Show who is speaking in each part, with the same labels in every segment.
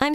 Speaker 1: I'm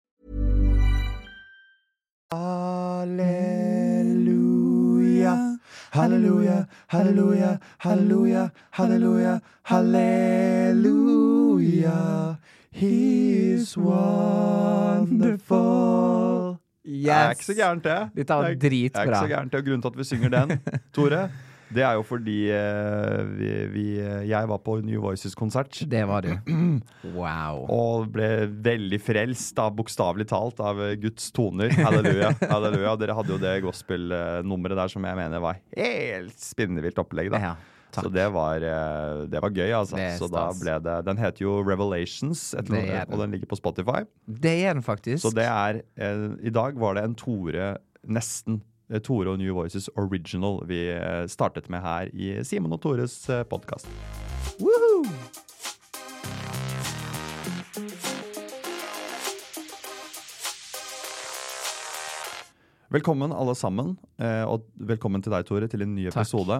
Speaker 2: Halleluja, halleluja, halleluja, halleluja, halleluja, halleluja. He is wonderful.
Speaker 3: Det er ikke så gærent, det.
Speaker 2: Dette var
Speaker 3: Det er-
Speaker 2: dritbra.
Speaker 3: Det er ikke så gærent, det. Og grunnen til at vi synger den, Tore, det er jo fordi eh, vi, vi, eh, jeg var på New Voices-konsert.
Speaker 2: Det var du. Wow.
Speaker 3: Og ble veldig frelst, da, bokstavelig talt, av eh, Guds toner. Halleluja. halleluja. Dere hadde jo det gospelnummeret der som jeg mener var helt spinnevilt opplegg. da.
Speaker 2: Ja, takk.
Speaker 3: Så det var, eh, det var gøy, altså.
Speaker 2: Det er
Speaker 3: Så da
Speaker 2: stas.
Speaker 3: ble det, den heter jo Revelations, et eller
Speaker 2: Det
Speaker 3: annet,
Speaker 2: er den.
Speaker 3: og den ligger på Spotify.
Speaker 2: Det er den faktisk.
Speaker 3: Så det er eh, I dag var det en Tore nesten. eh, Tore og New Voices Original vi eh, startet med her i Simon og Tores eh, podkast.
Speaker 2: Woohoo!
Speaker 3: Velkommen alle sammen, eh, og velkommen til deg, Tore, til en ny
Speaker 2: Takk.
Speaker 3: episode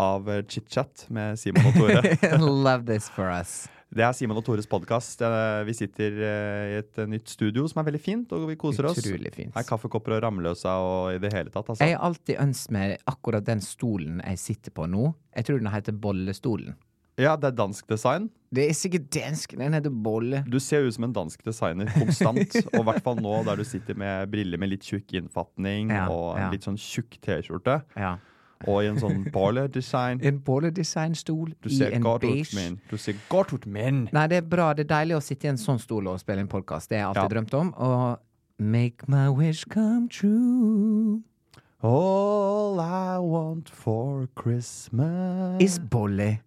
Speaker 3: av eh, Chit-chat med Simon og Tore.
Speaker 2: Love this for us.
Speaker 3: Det er Simon og Tores podkast. Vi sitter eh, i et eh, nytt studio som er veldig fint, og vi koser oss.
Speaker 2: Utrolig fint.
Speaker 3: Er kaffekopper og ramløsa og i det hele tatt, altså.
Speaker 2: Jeg har alltid ønsket meg akkurat den stolen jeg sitter på nå. Jeg tror den heter bollestolen.
Speaker 3: Ja, det er dansk design.
Speaker 2: Det er sikkert dansk. Den heter bolle.
Speaker 3: Du ser ut som en dansk designer konstant, og i hvert fall nå der du sitter med briller med litt tjukk innfatning
Speaker 2: Ja,
Speaker 3: og en
Speaker 2: ja.
Speaker 3: litt sånn tjukk T-skjorte,
Speaker 2: Ja.
Speaker 3: og i en sånn boiler-design.
Speaker 2: En bolledesignstol
Speaker 3: Du
Speaker 2: i
Speaker 3: ser
Speaker 2: en
Speaker 3: godt ut,
Speaker 2: beige
Speaker 3: men. Du ser godt ut, men.
Speaker 2: Nei, det er bra. Det er deilig å sitte i en sånn stol og spille en podkast. Det har jeg alltid
Speaker 3: Ja.
Speaker 2: drømt om. Og make my wish come true
Speaker 3: All I want for Christmas
Speaker 2: is bolle.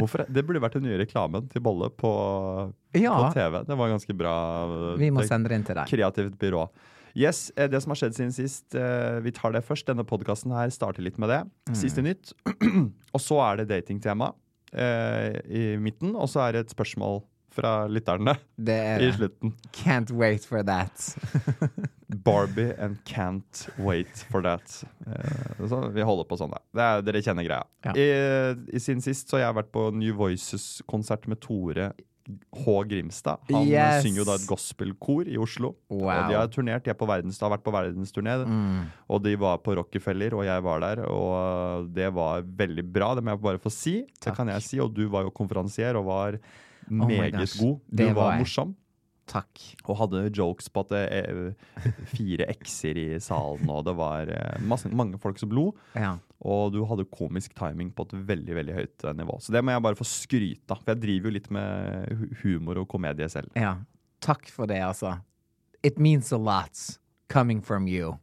Speaker 3: Hvorfor? Det burde vært den nye reklamen til Bolle på, på
Speaker 2: Ja,
Speaker 3: TV. Det var ganske bra. eh,
Speaker 2: vi må
Speaker 3: det-
Speaker 2: sende den til deg.
Speaker 3: Kreativt byrå. Yes, eh, Det som har skjedd siden sist, eh, vi tar det først. Denne podkasten her starter litt med det.
Speaker 2: Mm.
Speaker 3: Siste nytt. og så er det datingtema eh, i midten, og så er det et spørsmål fra lytterne
Speaker 2: Det er
Speaker 3: i
Speaker 2: det.
Speaker 3: slutten.
Speaker 2: Can't wait for that.
Speaker 3: Barbie and can't wait for that. Eh, så vi holder på sånn, da. Det er, dere kjenner greia.
Speaker 2: Ja.
Speaker 3: I, i Siden sist så har jeg vært på New Voices-konsert med Tore H. Grimstad. Han eh,
Speaker 2: Yes.
Speaker 3: synger jo da et gospelkor i Oslo. Og de
Speaker 2: Wow.
Speaker 3: har turnert, de er på verdens, har vært på verdensturné.
Speaker 2: Mm.
Speaker 3: Og de var på Rockefeller, og jeg var der. Og eh, det var veldig bra, det må jeg bare få si. Det
Speaker 2: Takk. Oh
Speaker 3: kan jeg si. Og du var jo konferansier og var
Speaker 2: my
Speaker 3: meget
Speaker 2: gosh,
Speaker 3: god. Du
Speaker 2: det
Speaker 3: var,
Speaker 2: var jeg.
Speaker 3: morsom.
Speaker 2: Takk.
Speaker 3: Og hadde jokes på at det er fire ekser i salen, og det var eh, masse, mange folk som lo.
Speaker 2: Ja.
Speaker 3: Og du hadde komisk timing på et veldig veldig høyt eh, nivå. Så det må jeg bare få skryte av. For jeg driver jo litt med hu- humor og komedie selv.
Speaker 2: ja. Takk for det, altså. It means a lot coming from you.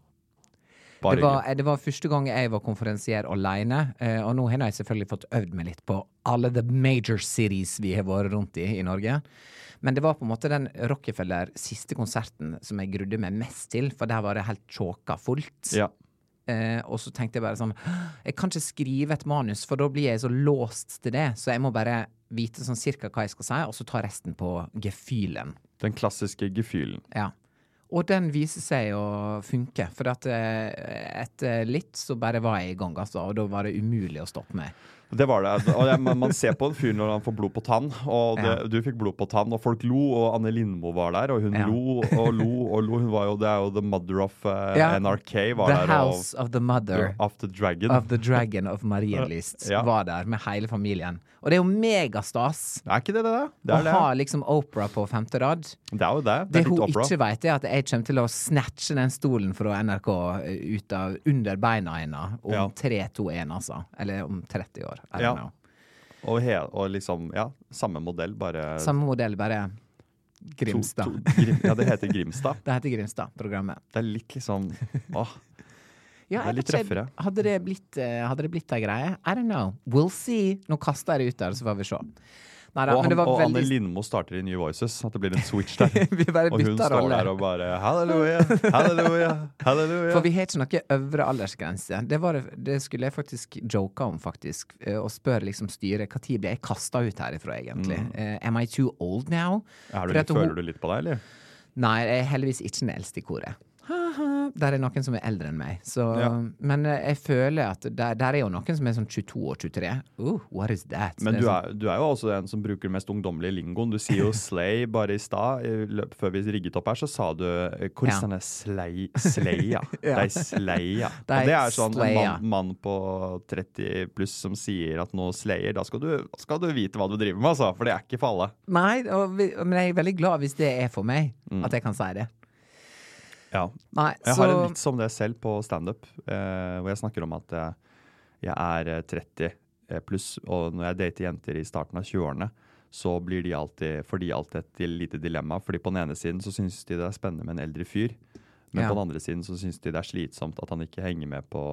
Speaker 3: Bare
Speaker 2: det, var, det var første gang jeg var konferansier alene, eh, og nå har jeg selvfølgelig fått øvd meg litt på alle the major cities vi har vært rundt i i Norge. Men det var på en måte den Rockefeller siste konserten som jeg grudde meg mest til, for der var det helt tjåka fullt.
Speaker 3: hyggelig. Ja.
Speaker 2: Eh, og så tenkte jeg bare sånn Jeg kan ikke skrive et manus, for da blir jeg så låst til det. Så jeg må bare vite sånn cirka hva jeg skal si, og så ta resten på gefühlen.
Speaker 3: Den klassiske gefühlen.
Speaker 2: Ja. Og den viser seg å funke, for at eh, etter litt så bare var jeg i gang, altså, og da var det umulig å stoppe meg.
Speaker 3: Det var det. Og jeg, man, man ser på en fyr når han får blod på tann, og det,
Speaker 2: Ja.
Speaker 3: du fikk blod på tann, og folk lo, og Anne Lindmo var der, og hun
Speaker 2: Ja.
Speaker 3: lo og lo og lo. Hun var jo, det er jo the mother of eh,
Speaker 2: Ja.
Speaker 3: NRK var
Speaker 2: The
Speaker 3: der,
Speaker 2: House of the Mother
Speaker 3: og After Dragon.
Speaker 2: of the Dragon of Marienlyst
Speaker 3: Ja.
Speaker 2: var der med hele familien. Og det er jo megastas
Speaker 3: Er ikke det det? da? Det
Speaker 2: å
Speaker 3: er, det.
Speaker 2: ha liksom Opera på femte rad.
Speaker 3: det er jo det. Det
Speaker 2: Det
Speaker 3: er
Speaker 2: hun
Speaker 3: litt opera.
Speaker 2: ikke vet, er at jeg kommer til å snatche den stolen fra NRK eh, ut av under beina hennes om
Speaker 3: Ja.
Speaker 2: 3-2-1, altså. Eller om 30 år. I
Speaker 3: Ja.
Speaker 2: don't know.
Speaker 3: Og, he, og liksom, ja, samme modell, bare
Speaker 2: Samme modell, bare
Speaker 3: to-
Speaker 2: Grimstad.
Speaker 3: to- grim, ja, det heter Grimstad.
Speaker 2: Det heter Grimstad-programmet.
Speaker 3: Det er litt liksom åh,
Speaker 2: Ja,
Speaker 3: Det er
Speaker 2: jeg
Speaker 3: litt
Speaker 2: vet ikke,
Speaker 3: røffere.
Speaker 2: Hadde det blitt, eh, hadde det blitt ei greie? I don't know. We'll see. Nå kaster jeg det ut der, så får vi se. Neida,
Speaker 3: Og,
Speaker 2: men
Speaker 3: han,
Speaker 2: det var
Speaker 3: og Anne
Speaker 2: veldig-
Speaker 3: Lindmo starter i New Voices, at det blir en switch der.
Speaker 2: Vi bare
Speaker 3: og hun
Speaker 2: bytter
Speaker 3: står
Speaker 2: rolle.
Speaker 3: der og bare Halleluja, halleluja, halleluja.
Speaker 2: For vi har ikke noe øvre aldersgrense. Det, var, det skulle jeg faktisk joke om, faktisk. eh, Og spørre liksom styret når ble jeg kasta ut herifra, egentlig. Eh, am I too old now?
Speaker 3: Er Mm.
Speaker 2: Fordi
Speaker 3: du
Speaker 2: at
Speaker 3: litt,
Speaker 2: hun-
Speaker 3: føler du litt på deg, eller?
Speaker 2: Nei, jeg er heldigvis ikke den eldste i koret. Haha, Der er noen som er eldre enn meg. Så,
Speaker 3: Ja.
Speaker 2: Men eh, jeg føler at der, der er jo noen som er sånn 22 og 23. Oh, what is that?
Speaker 3: Men
Speaker 2: Det
Speaker 3: du
Speaker 2: sånn-
Speaker 3: er, du er jo også en som bruker den mest ungdommelige lingoen. Du sier jo slay bare i stad. i løp- Før vi rigget opp her, så sa du eh, Hvordan er slay, sleia?
Speaker 2: Ja.
Speaker 3: Dei sleia.
Speaker 2: Dei
Speaker 3: Og det er sånn en
Speaker 2: sleia.
Speaker 3: mann, mann på 30 pluss som sier at noe slayer. Da skal du, skal du vite hva du driver med, altså. For det er ikke for alle.
Speaker 2: Nei, og vi, men jeg er veldig glad hvis det er for meg, at jeg kan si det.
Speaker 3: Ja.
Speaker 2: Nei,
Speaker 3: Mm. Jeg
Speaker 2: så
Speaker 3: har en vits om det selv på standup, eh, hvor jeg snakker om at eh, jeg er eh, 30 eh, pluss, og når jeg dater jenter i starten av 20-årene, så blir de alltid, får de alltid et lite dilemma. Fordi på den ene siden så syns de det er spennende med en eldre fyr, men
Speaker 2: Ja.
Speaker 3: på den andre siden så syns de det er slitsomt at han ikke henger med på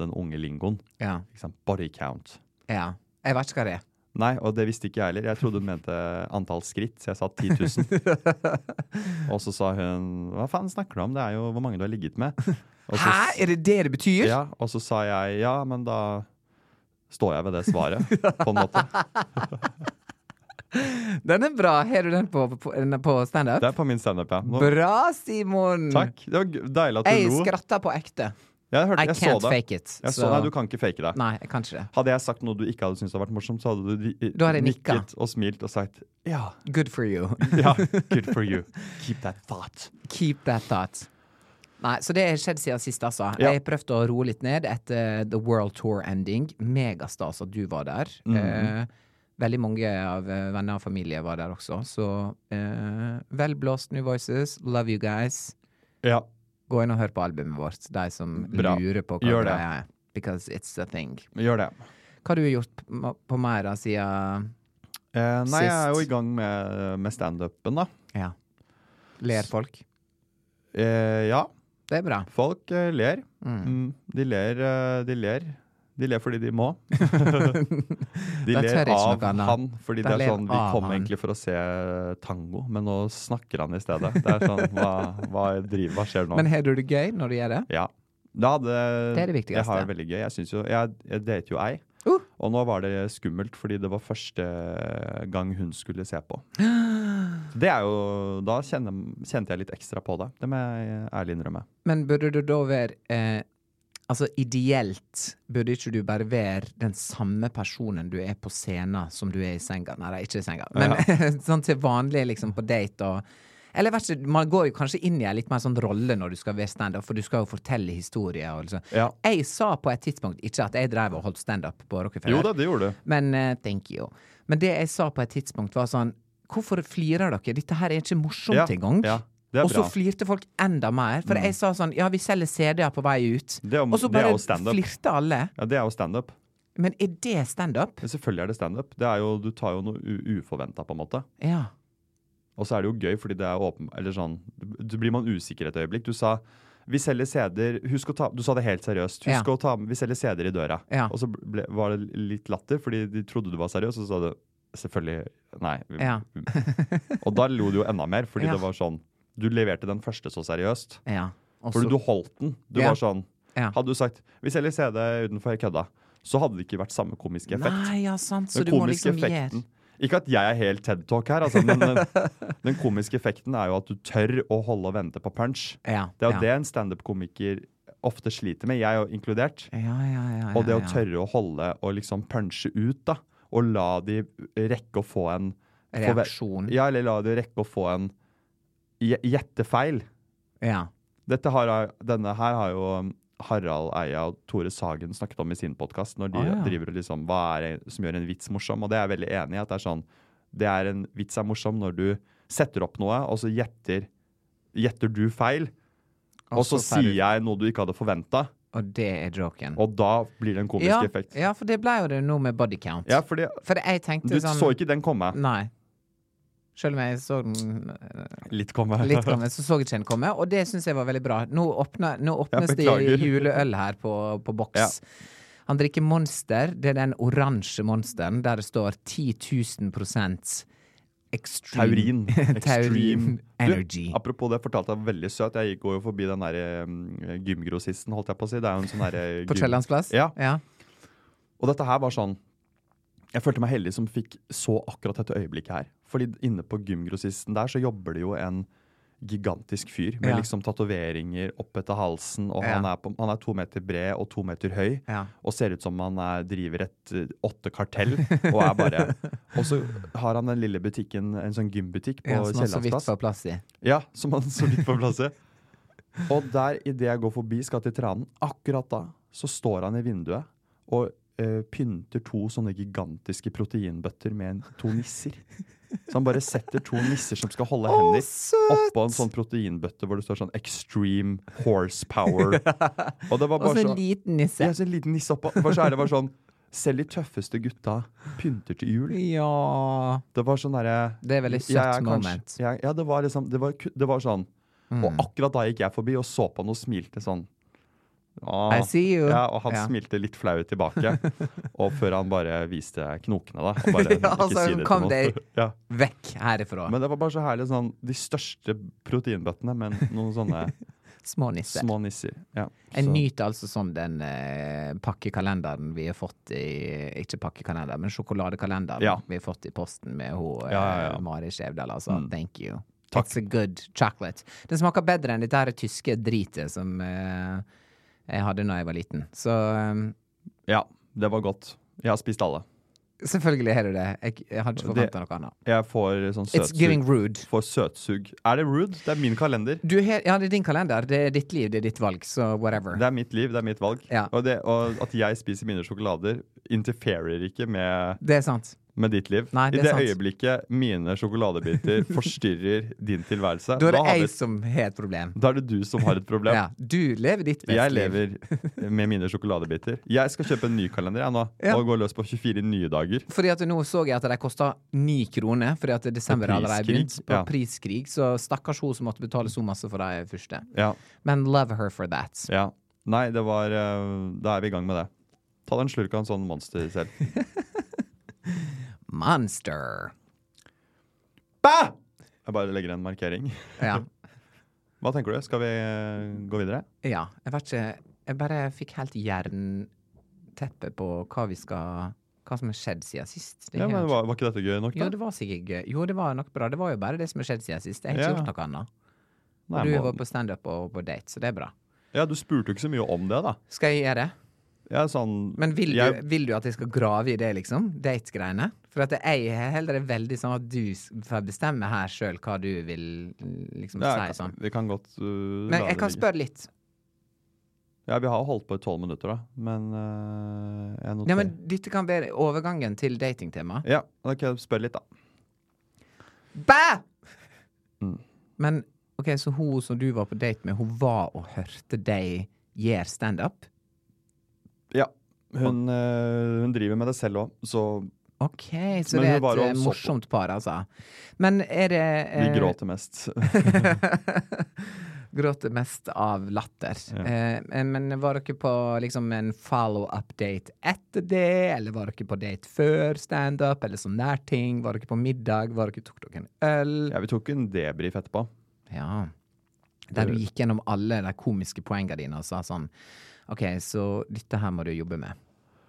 Speaker 3: den unge lingoen.
Speaker 2: ja,
Speaker 3: Ikke sant? Body count.
Speaker 2: ja. Jeg vet ikke hva det er.
Speaker 3: Nei, og det visste ikke jeg heller. Jeg trodde hun mente antall skritt, så jeg sa 10 000. og så sa hun Hva faen snakker du om? Det er jo hvor mange du har ligget med. Og så
Speaker 2: Hæ, er det det det betyr?
Speaker 3: ja, og så sa jeg ja, men da står jeg ved det svaret, på en måte.
Speaker 2: Den er bra. Har du den på, på, den er på standup?
Speaker 3: Det er på min standup, ja. Nå,
Speaker 2: Bra, Simon!
Speaker 3: takk. Det var g- deilig at du
Speaker 2: Jeg
Speaker 3: lo.
Speaker 2: skratta på ekte.
Speaker 3: Jeg, hørte,
Speaker 2: I
Speaker 3: jeg så
Speaker 2: can't
Speaker 3: det.
Speaker 2: fake it.
Speaker 3: Jeg så,
Speaker 2: så-
Speaker 3: nei, du kan ikke fake det.
Speaker 2: Nei, jeg kan ikke det.
Speaker 3: Hadde jeg sagt noe du ikke hadde syntes hadde vært morsomt, så hadde du di-
Speaker 2: Da hadde jeg nikka.
Speaker 3: nikket og smilt og sagt ja.
Speaker 2: Good for you.
Speaker 3: ja. Good for you. Keep that thought.
Speaker 2: Keep that thought. Nei, Så det har skjedd siden sist, altså.
Speaker 3: Ja.
Speaker 2: Jeg prøvde å roe litt ned etter eh, The World Tour Ending. Megastas at du var der.
Speaker 3: Mhm.
Speaker 2: Eh, veldig mange av eh, venner og familie var der også. Så eh, vel blåst New Voices. Love you guys.
Speaker 3: Ja.
Speaker 2: Gå inn og hør på albumet vårt, de som
Speaker 3: Bra.
Speaker 2: lurer på hva
Speaker 3: Gjør det.
Speaker 2: greia er. Because it's a thing.
Speaker 3: Gjør det.
Speaker 2: Hva har du gjort på- på mer da, siden
Speaker 3: Eh, nei, jeg er jo
Speaker 2: Sist.
Speaker 3: i gang med, med standupen, da.
Speaker 2: Ja. Ler folk?
Speaker 3: Eh, ja,
Speaker 2: Det er bra.
Speaker 3: folk eh, ler. Mm, de ler. eh, de ler. De ler fordi de må. De
Speaker 2: Da tør
Speaker 3: ler
Speaker 2: jeg ikke
Speaker 3: av
Speaker 2: noe annet.
Speaker 3: han, fordi
Speaker 2: Da
Speaker 3: det er
Speaker 2: ler
Speaker 3: sånn Vi
Speaker 2: av
Speaker 3: kom
Speaker 2: han.
Speaker 3: egentlig for å se eh, tango, men nå snakker han i stedet. Det er sånn Hva, hva, driver, hva skjer nå?
Speaker 2: Men har du det gøy når du gjør det?
Speaker 3: ja. Da hadde,
Speaker 2: Det er det viktigste.
Speaker 3: Jeg har det veldig gøy. Jeg, synes jo, jeg, jeg dater jo ei.
Speaker 2: Uh.
Speaker 3: Og nå var det skummelt, fordi det var første gang hun skulle se på. Det er jo, Da kjenner, kjente jeg litt ekstra på det. Det må jeg ærlig innrømme.
Speaker 2: Men burde du da være eh, Altså ideelt burde ikke du bare være den samme personen du er på scenen som du er i senga. Nei, nei, ikke i senga, men sånn til vanlig liksom på date og eller jeg vet ikke, Man går jo kanskje inn i en litt mer sånn rolle når du skal være standup, for du skal jo fortelle historier. Og liksom.
Speaker 3: Ja.
Speaker 2: Jeg sa på et tidspunkt ikke at jeg drev og holdt standup på Rockefeller.
Speaker 3: Jo da, det gjorde du.
Speaker 2: Men eh, thank you. Men det jeg sa på et tidspunkt, var sånn Hvorfor flirer dere? Dette her er ikke morsomt
Speaker 3: Ja,
Speaker 2: engang.
Speaker 3: ja, det er
Speaker 2: og så
Speaker 3: bra. Mm.
Speaker 2: flirte folk enda mer. For jeg sa sånn Ja, vi selger CD-er på vei ut.
Speaker 3: Det er jo-
Speaker 2: og så
Speaker 3: det er
Speaker 2: bare
Speaker 3: jo stand-up.
Speaker 2: flirte alle.
Speaker 3: Ja, Det er jo standup.
Speaker 2: Men er det standup?
Speaker 3: Men Selvfølgelig er det standup. Det er jo- Du tar jo noe uforventa, på en måte.
Speaker 2: Ja.
Speaker 3: Og så er det jo gøy, fordi det er åpen... Eller sånn, du blir man usikker et øyeblikk. Du sa vi selger CD-er Husk å ta Du sa det helt seriøst. Husk
Speaker 2: Ja.
Speaker 3: å ta Vi selger CD-er i døra.
Speaker 2: Ja.
Speaker 3: Og så ble, var det litt latter, fordi de trodde du var seriøs, og så sa du selvfølgelig Nei. vi-
Speaker 2: Ja.
Speaker 3: og da lo du jo enda mer, fordi
Speaker 2: Ja.
Speaker 3: det var sånn Du leverte den første så seriøst.
Speaker 2: ja. Og
Speaker 3: Fordi
Speaker 2: så-
Speaker 3: du holdt den. Du
Speaker 2: Ja.
Speaker 3: var sånn
Speaker 2: Ja.
Speaker 3: Hadde du sagt vi selger CD utenfor kødda, så hadde det ikke vært samme komiske effekt.
Speaker 2: Nei, ja, sant. Så
Speaker 3: Den
Speaker 2: du må
Speaker 3: komiske
Speaker 2: liksom gjøre
Speaker 3: effekten Ikke at jeg er helt TED Talk her, altså, men den, den komiske effekten er jo at du tør å holde og vente på punch.
Speaker 2: ja,
Speaker 3: Det er jo
Speaker 2: ja.
Speaker 3: det en standup-komiker ofte sliter med, jeg jo inkludert.
Speaker 2: Ja, ja, ja, ja,
Speaker 3: Og det å
Speaker 2: ja.
Speaker 3: tørre å holde og liksom punche ut, da. Og la de rekke å få en få ve-
Speaker 2: Reaksjon.
Speaker 3: Ja, eller la de rekke å få en gje- gjettefeil.
Speaker 2: Ja.
Speaker 3: Dette har, denne her har jo um, Harald Eia og Tore Sagen snakket om i sin podkast. Når de
Speaker 2: Ah, ja.
Speaker 3: driver og liksom Hva er det som gjør en vits morsom? Og det er jeg veldig enig i. at det er sånn, det er en Vits er morsom når du setter opp noe, og så gjetter, gjetter du feil. Og, så,
Speaker 2: tar
Speaker 3: sier
Speaker 2: du-
Speaker 3: jeg noe du ikke hadde forventa,
Speaker 2: Og det er joken.
Speaker 3: og da blir det en komisk
Speaker 2: ja,
Speaker 3: effekt.
Speaker 2: ja, for det ble jo det nå med body count.
Speaker 3: Ja, fordi
Speaker 2: For jeg tenkte
Speaker 3: du
Speaker 2: sånn
Speaker 3: så ikke den komme.
Speaker 2: Nei. Selv om jeg så den eh,
Speaker 3: Litt komme.
Speaker 2: litt komme, så så jeg ikke den komme, og det syns jeg var veldig bra. Nå, åpner, nå
Speaker 3: Jeg
Speaker 2: åpnes det
Speaker 3: beklager.
Speaker 2: juleøl her på, på boks. Han drikker Monster. Det er den oransje monsteren der det står 10 000 extreme
Speaker 3: Taurin.
Speaker 2: Mm. Taurin
Speaker 3: Extreme.
Speaker 2: energy.
Speaker 3: Du, apropos det, fortalte jeg veldig søt. Jeg gikk- går jo forbi den derre mm, gymgrossisten, holdt jeg på å si. Det er jo en sånn derre
Speaker 2: På
Speaker 3: gym-
Speaker 2: Kiellands plass?
Speaker 3: Ja.
Speaker 2: ja.
Speaker 3: Og dette her var sånn Jeg følte meg heldig som fikk så akkurat dette øyeblikket her. Fordi inne på gymgrossisten der så jobber det jo en gigantisk fyr med
Speaker 2: Ja.
Speaker 3: liksom tatoveringer opp etter halsen, og
Speaker 2: Ja.
Speaker 3: han, er på, han er to meter bred og to meter høy.
Speaker 2: Ja.
Speaker 3: Og ser ut som han er, driver et eh, åtte-kartell. Og er bare Og så har han den lille butikken, en sånn gymbutikk på
Speaker 2: ja som han så vidt
Speaker 3: Kiellandsplass.
Speaker 2: får plass i.
Speaker 3: Ja, som han så vidt får plass i. Og der, idet jeg går forbi, skal til tranen, akkurat da så står han i vinduet og eh, pynter to sånne gigantiske proteinbøtter med en, to nisser. Så han bare setter to nisser som skal holde hender, oppå en sånn proteinbøtte hvor det står sånn 'extreme horsepower'. Og det var
Speaker 2: Og
Speaker 3: bare
Speaker 2: så
Speaker 3: så
Speaker 2: en liten nisse.
Speaker 3: ja, så en liten nisse oppå. For så er det bare sånn Selv de tøffeste gutta pynter til jul.
Speaker 2: Ja
Speaker 3: Det var sånn derre
Speaker 2: Det er veldig søtt
Speaker 3: jeg er kanskje-
Speaker 2: moment. Mm.
Speaker 3: jeg, ja, det var liksom Det var, ku- det var sånn. Og akkurat da gikk jeg forbi og så på han og smilte sånn. Ah.
Speaker 2: I see you.
Speaker 3: Ja, og han
Speaker 2: Ja.
Speaker 3: smilte litt flaut tilbake. og før han bare viste knokene, da. Og bare,
Speaker 2: Ja, altså,
Speaker 3: ikke si det
Speaker 2: kom
Speaker 3: til
Speaker 2: deg-
Speaker 3: noen. ja.
Speaker 2: Vekk herifra.
Speaker 3: Men det var bare så herlig. Sånn, de største proteinbøttene, men noen sånne
Speaker 2: Små nisser.
Speaker 3: små nisser. Ja,
Speaker 2: Jeg
Speaker 3: så-
Speaker 2: nyter altså sånn den eh, pakkekalenderen vi har fått i Ikke pakkekalender, men sjokoladekalenderen
Speaker 3: Ja.
Speaker 2: vi har fått i posten med hun, eh,
Speaker 3: Ja, ja, ja.
Speaker 2: Mari Skjevdal. Altså, thank you.
Speaker 3: Takk.
Speaker 2: It's a good chocolate. Den smaker bedre enn dette her tyske dritet som eh, jeg hadde da jeg var liten. Så eh,
Speaker 3: ja, det var godt. Jeg har spist alle.
Speaker 2: eh, selvfølgelig har du det. Jeg, jeg hadde ikke
Speaker 3: Det-
Speaker 2: forventa noe annet.
Speaker 3: Jeg får sånn
Speaker 2: It's giving
Speaker 3: søtsug.
Speaker 2: rude.
Speaker 3: Får søtsug. Er det rude? Det er min kalender.
Speaker 2: Du har, ja, det er din kalender. Det er ditt liv, det er ditt valg, så whatever.
Speaker 3: Det er mitt liv, det er mitt valg.
Speaker 2: Ja.
Speaker 3: Og, det, og at jeg spiser mine sjokolader, interferer ikke med,
Speaker 2: det er sant.
Speaker 3: med ditt liv.
Speaker 2: Nei, det
Speaker 3: I
Speaker 2: er
Speaker 3: det
Speaker 2: sant.
Speaker 3: øyeblikket mine sjokoladebiter forstyrrer din tilværelse,
Speaker 2: Da er det
Speaker 3: da, har vi-
Speaker 2: jeg som har et problem.
Speaker 3: da er det du som har et problem.
Speaker 2: Ja, du lever ditt beste
Speaker 3: Jeg
Speaker 2: liv.
Speaker 3: lever med mine sjokoladebiter. Jeg skal kjøpe en ny kalender jeg nå,
Speaker 2: Ja.
Speaker 3: og gå løs på 24 nye dager.
Speaker 2: Fordi at nå så jeg at de kosta ni kroner, fordi at desember
Speaker 3: På
Speaker 2: har allerede
Speaker 3: priskrig,
Speaker 2: begynt på
Speaker 3: ja.
Speaker 2: priskrig. Så stakkars hun som måtte betale så masse for de første.
Speaker 3: Ja,
Speaker 2: Men love her for that.
Speaker 3: ja. Nei, det var eh, Da er vi i gang med det. Ta deg en slurk av en sånn monster selv.
Speaker 2: Monster.
Speaker 3: Bæ! Jeg bare legger en markering.
Speaker 2: Ja.
Speaker 3: Hva tenker du? Skal vi eh, gå videre?
Speaker 2: ja. Jeg vet ikke Jeg bare fikk helt jernteppe på hva vi skal Hva som har skjedd siden sist. Det
Speaker 3: Ja,
Speaker 2: har
Speaker 3: men
Speaker 2: jo-
Speaker 3: var, var ikke dette gøy nok, da?
Speaker 2: jo, det var sikkert gøy. Jo, det var nok bra. Det var jo bare det som har skjedd siden sist. Jeg har ikke
Speaker 3: Ja.
Speaker 2: gjort noe annet.
Speaker 3: Nei,
Speaker 2: Og du
Speaker 3: må-
Speaker 2: var på standup og på date, så det er bra.
Speaker 3: Ja, du spurte jo ikke så mye om det, da.
Speaker 2: Skal jeg gjøre det?
Speaker 3: Jeg er sånn
Speaker 2: Men vil,
Speaker 3: jeg,
Speaker 2: du, vil du at jeg skal grave i det, liksom? Date-greiene? For at jeg er heller veldig sånn at du s- får bestemme her sjøl hva du vil liksom
Speaker 3: ja,
Speaker 2: si sånn.
Speaker 3: Vi kan godt uh, la
Speaker 2: Men
Speaker 3: det
Speaker 2: jeg kan
Speaker 3: ligge.
Speaker 2: spørre litt.
Speaker 3: Ja, vi har holdt på i tolv minutter, da. Men uh, jeg noterer.
Speaker 2: Ja, men dette kan være overgangen til datingtema.
Speaker 3: Ja, da kan jeg spørre litt, da.
Speaker 2: Bæ!
Speaker 3: Mm.
Speaker 2: Men OK, så hun som du var på date med, hun var og hørte deg gjøre standup?
Speaker 3: Ja. Hun, uh, hun driver med det selv òg, så
Speaker 2: OK, så
Speaker 3: Men
Speaker 2: det er
Speaker 3: hun var
Speaker 2: et
Speaker 3: og
Speaker 2: eh,
Speaker 3: så på.
Speaker 2: morsomt par, altså. Men er det
Speaker 3: vi
Speaker 2: eh,
Speaker 3: gråter mest.
Speaker 2: Gråter mest av latter.
Speaker 3: Ja.
Speaker 2: Eh, men var dere på liksom en follow-up-date etter det, eller var dere på date før standup, eller sånn der ting? Var dere på middag? Var dere, tok dere en øl?
Speaker 3: ja, vi tok en debrief etterpå.
Speaker 2: Ja. Der du gikk gjennom alle de komiske poengene dine og sa sånn OK, så dette her må du jobbe med.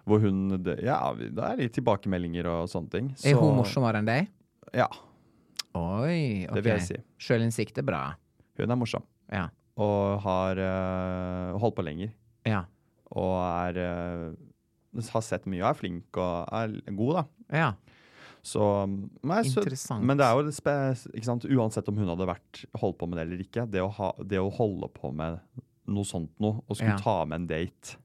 Speaker 3: Hvor hun det, Ja, vi- det er litt tilbakemeldinger og sånne ting.
Speaker 2: Er hun morsommere enn deg?
Speaker 3: Ja.
Speaker 2: Oi, ok.
Speaker 3: Det vil jeg si.
Speaker 2: Sjølinnsikt er bra.
Speaker 3: Hun er morsom.
Speaker 2: Ja.
Speaker 3: Og har uh, holdt på lenger.
Speaker 2: Ja.
Speaker 3: Og er eh, Har sett mye og er flink og er god, da.
Speaker 2: ja.
Speaker 3: Så, um, nei, så,
Speaker 2: Interessant.
Speaker 3: men det er jo det spe, ikke sant? uansett om hun hadde vært, holdt på med det eller ikke, det å, ha, det å holde på med noe sånt noe, og skulle
Speaker 2: Ja.
Speaker 3: ta med en date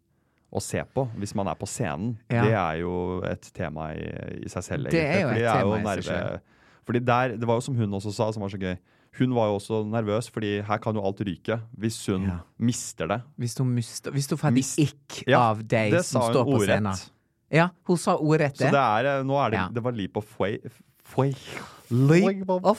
Speaker 3: og se på, hvis man er på scenen,
Speaker 2: Ja.
Speaker 3: det er jo et tema i, i seg selv.
Speaker 2: Det er jo
Speaker 3: egentlig, fordi
Speaker 2: et
Speaker 3: jeg
Speaker 2: tema i seg
Speaker 3: nerve- Fordi der, Det var jo som hun også sa, som var så gøy. Hun var jo også nervøs, fordi her kan jo alt ryke hvis hun
Speaker 2: Ja.
Speaker 3: mister det.
Speaker 2: Hvis du, mista- hvis du får et
Speaker 3: Mist-
Speaker 2: ikk av deg
Speaker 3: det
Speaker 2: som
Speaker 3: sa hun
Speaker 2: står på
Speaker 3: ordrett.
Speaker 2: scenen. Ja, hun sa ordrett
Speaker 3: Så
Speaker 2: det.
Speaker 3: det er, eh, nå er det,
Speaker 2: Ja.
Speaker 3: det var leap of way. way.
Speaker 2: Leap
Speaker 3: Flavor.
Speaker 2: of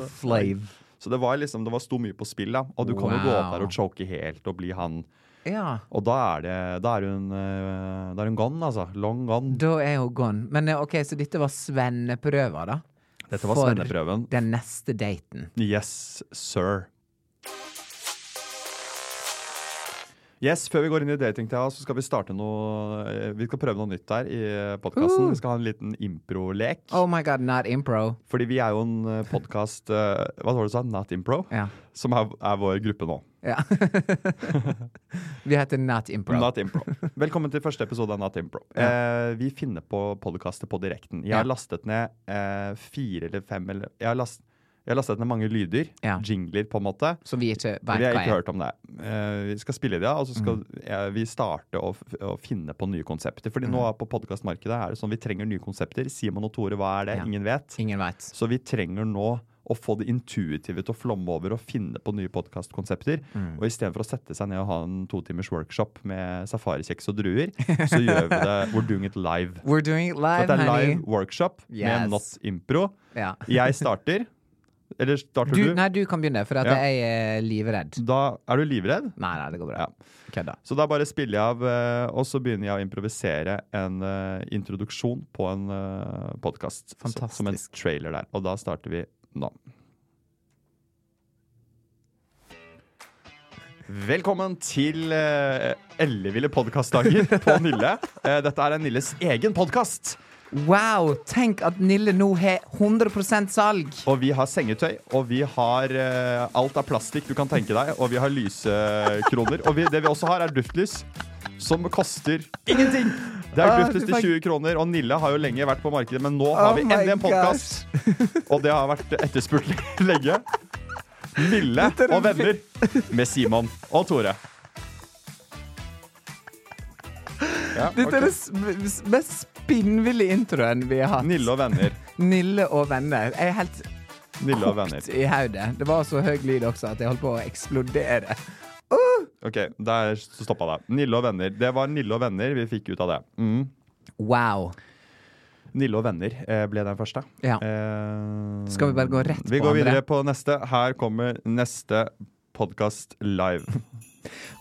Speaker 3: Flavor.
Speaker 2: flav.
Speaker 3: Så det var liksom, det var sto mye på spill, da. Og du kan jo gå opp
Speaker 2: Wow.
Speaker 3: der og choke helt og bli han.
Speaker 2: Ja.
Speaker 3: Og da er det Da er hun, eh, da er hun gone, altså. Long gone.
Speaker 2: Da er hun gone. Men eh, OK, så dette var svenneprøva, da?
Speaker 3: Dette var
Speaker 2: For
Speaker 3: svenneprøven.
Speaker 2: Den neste daten.
Speaker 3: Yes, sir. Yes, Før vi går inn i datingtida, så skal vi starte noe eh, Vi skal prøve noe nytt her i podkasten.
Speaker 2: Uh.
Speaker 3: Vi skal ha en liten improlek.
Speaker 2: Oh my god, not impro.
Speaker 3: Fordi vi er jo en podkast Hva var det du sa? Not Impro?
Speaker 2: Ja.
Speaker 3: Som er, er vår gruppe nå.
Speaker 2: ja. Vi heter Not Impro.
Speaker 3: Not Impro. Velkommen til første episode av Not Impro. Eh, vi finner på podkaster på direkten. Jeg
Speaker 2: Ja.
Speaker 3: har lastet ned eh, fire eller fem eller jeg har, last, jeg har lastet ned mange lyder.
Speaker 2: Ja.
Speaker 3: Jingler, på en måte.
Speaker 2: Som vi ikke
Speaker 3: Vi
Speaker 2: veit
Speaker 3: har
Speaker 2: hva
Speaker 3: ikke
Speaker 2: er.
Speaker 3: hørt om det. Eh, vi skal spille det, og så skal
Speaker 2: Mm.
Speaker 3: eh, vi starte å, f- å finne på nye konsepter. Fordi nå
Speaker 2: Mm.
Speaker 3: på podcastmarkedet er det sånn vi trenger nye konsepter. Simon og Tore, hva er det?
Speaker 2: Ja.
Speaker 3: Ingen vet.
Speaker 2: Ingen veit.
Speaker 3: Så vi trenger nå å få det intuitive til å flomme over og finne på nye podkastkonsepter.
Speaker 2: Mm.
Speaker 3: Og istedenfor å sette seg ned og ha en to timers workshop med safarikjeks og druer, så gjør vi det We're doing it live.
Speaker 2: We're doing it
Speaker 3: Så
Speaker 2: live,
Speaker 3: det er
Speaker 2: honey.
Speaker 3: live workshop
Speaker 2: Yes.
Speaker 3: med Not Impro.
Speaker 2: Ja.
Speaker 3: Jeg starter. Eller starter
Speaker 2: Du,
Speaker 3: du?
Speaker 2: nei, du kan begynne, for at
Speaker 3: Ja.
Speaker 2: jeg er livredd.
Speaker 3: Da er du livredd?
Speaker 2: Nei, nei, det går bra.
Speaker 3: Ja.
Speaker 2: Kødda.
Speaker 3: Så da bare spiller jeg av, eh, og så begynner jeg å improvisere en eh, introduksjon på en uh, podkast.
Speaker 2: Fantastisk.
Speaker 3: Som en trailer der. Og da starter vi nå. Velkommen til eh, Elleville podkastdager på Nille. Eh, dette er en Nilles egen podkast.
Speaker 2: Wow! Tenk at Nille nå har 100 salg!
Speaker 3: Og vi har sengetøy, og vi har eh, Alt er plastikk du kan tenke deg, og vi har lysekroner. Og vi, det vi også har, er duftlys, som koster ingenting! Det er
Speaker 2: Ah,
Speaker 3: duftlys
Speaker 2: du
Speaker 3: til
Speaker 2: fant-
Speaker 3: 20 kroner, og Nille har jo lenge vært på markedet, men
Speaker 2: Oh
Speaker 3: nå har vi endelig en podkast, og det har vært etterspurt lenge. Nille
Speaker 2: er
Speaker 3: og venner med Simon og Tore. Ja,
Speaker 2: Dette er
Speaker 3: ok.
Speaker 2: den sm- s- mest spinnville introen vi har hatt.
Speaker 3: Nille og venner.
Speaker 2: Nille og venner. Jeg er helt
Speaker 3: Nille og venner.
Speaker 2: kokt i hodet. Det var så høy lyd også at jeg holdt på å eksplodere.
Speaker 3: Ok, der stoppa det. Nille og venner. Det var Nille og venner vi fikk ut av det. Mm.
Speaker 2: Wow.
Speaker 3: Nille og venner eh, ble den første.
Speaker 2: Ja.
Speaker 3: Eh,
Speaker 2: Skal vi bare gå rett
Speaker 3: Vi
Speaker 2: på
Speaker 3: går videre
Speaker 2: andre?
Speaker 3: på neste. Her kommer neste podkast live.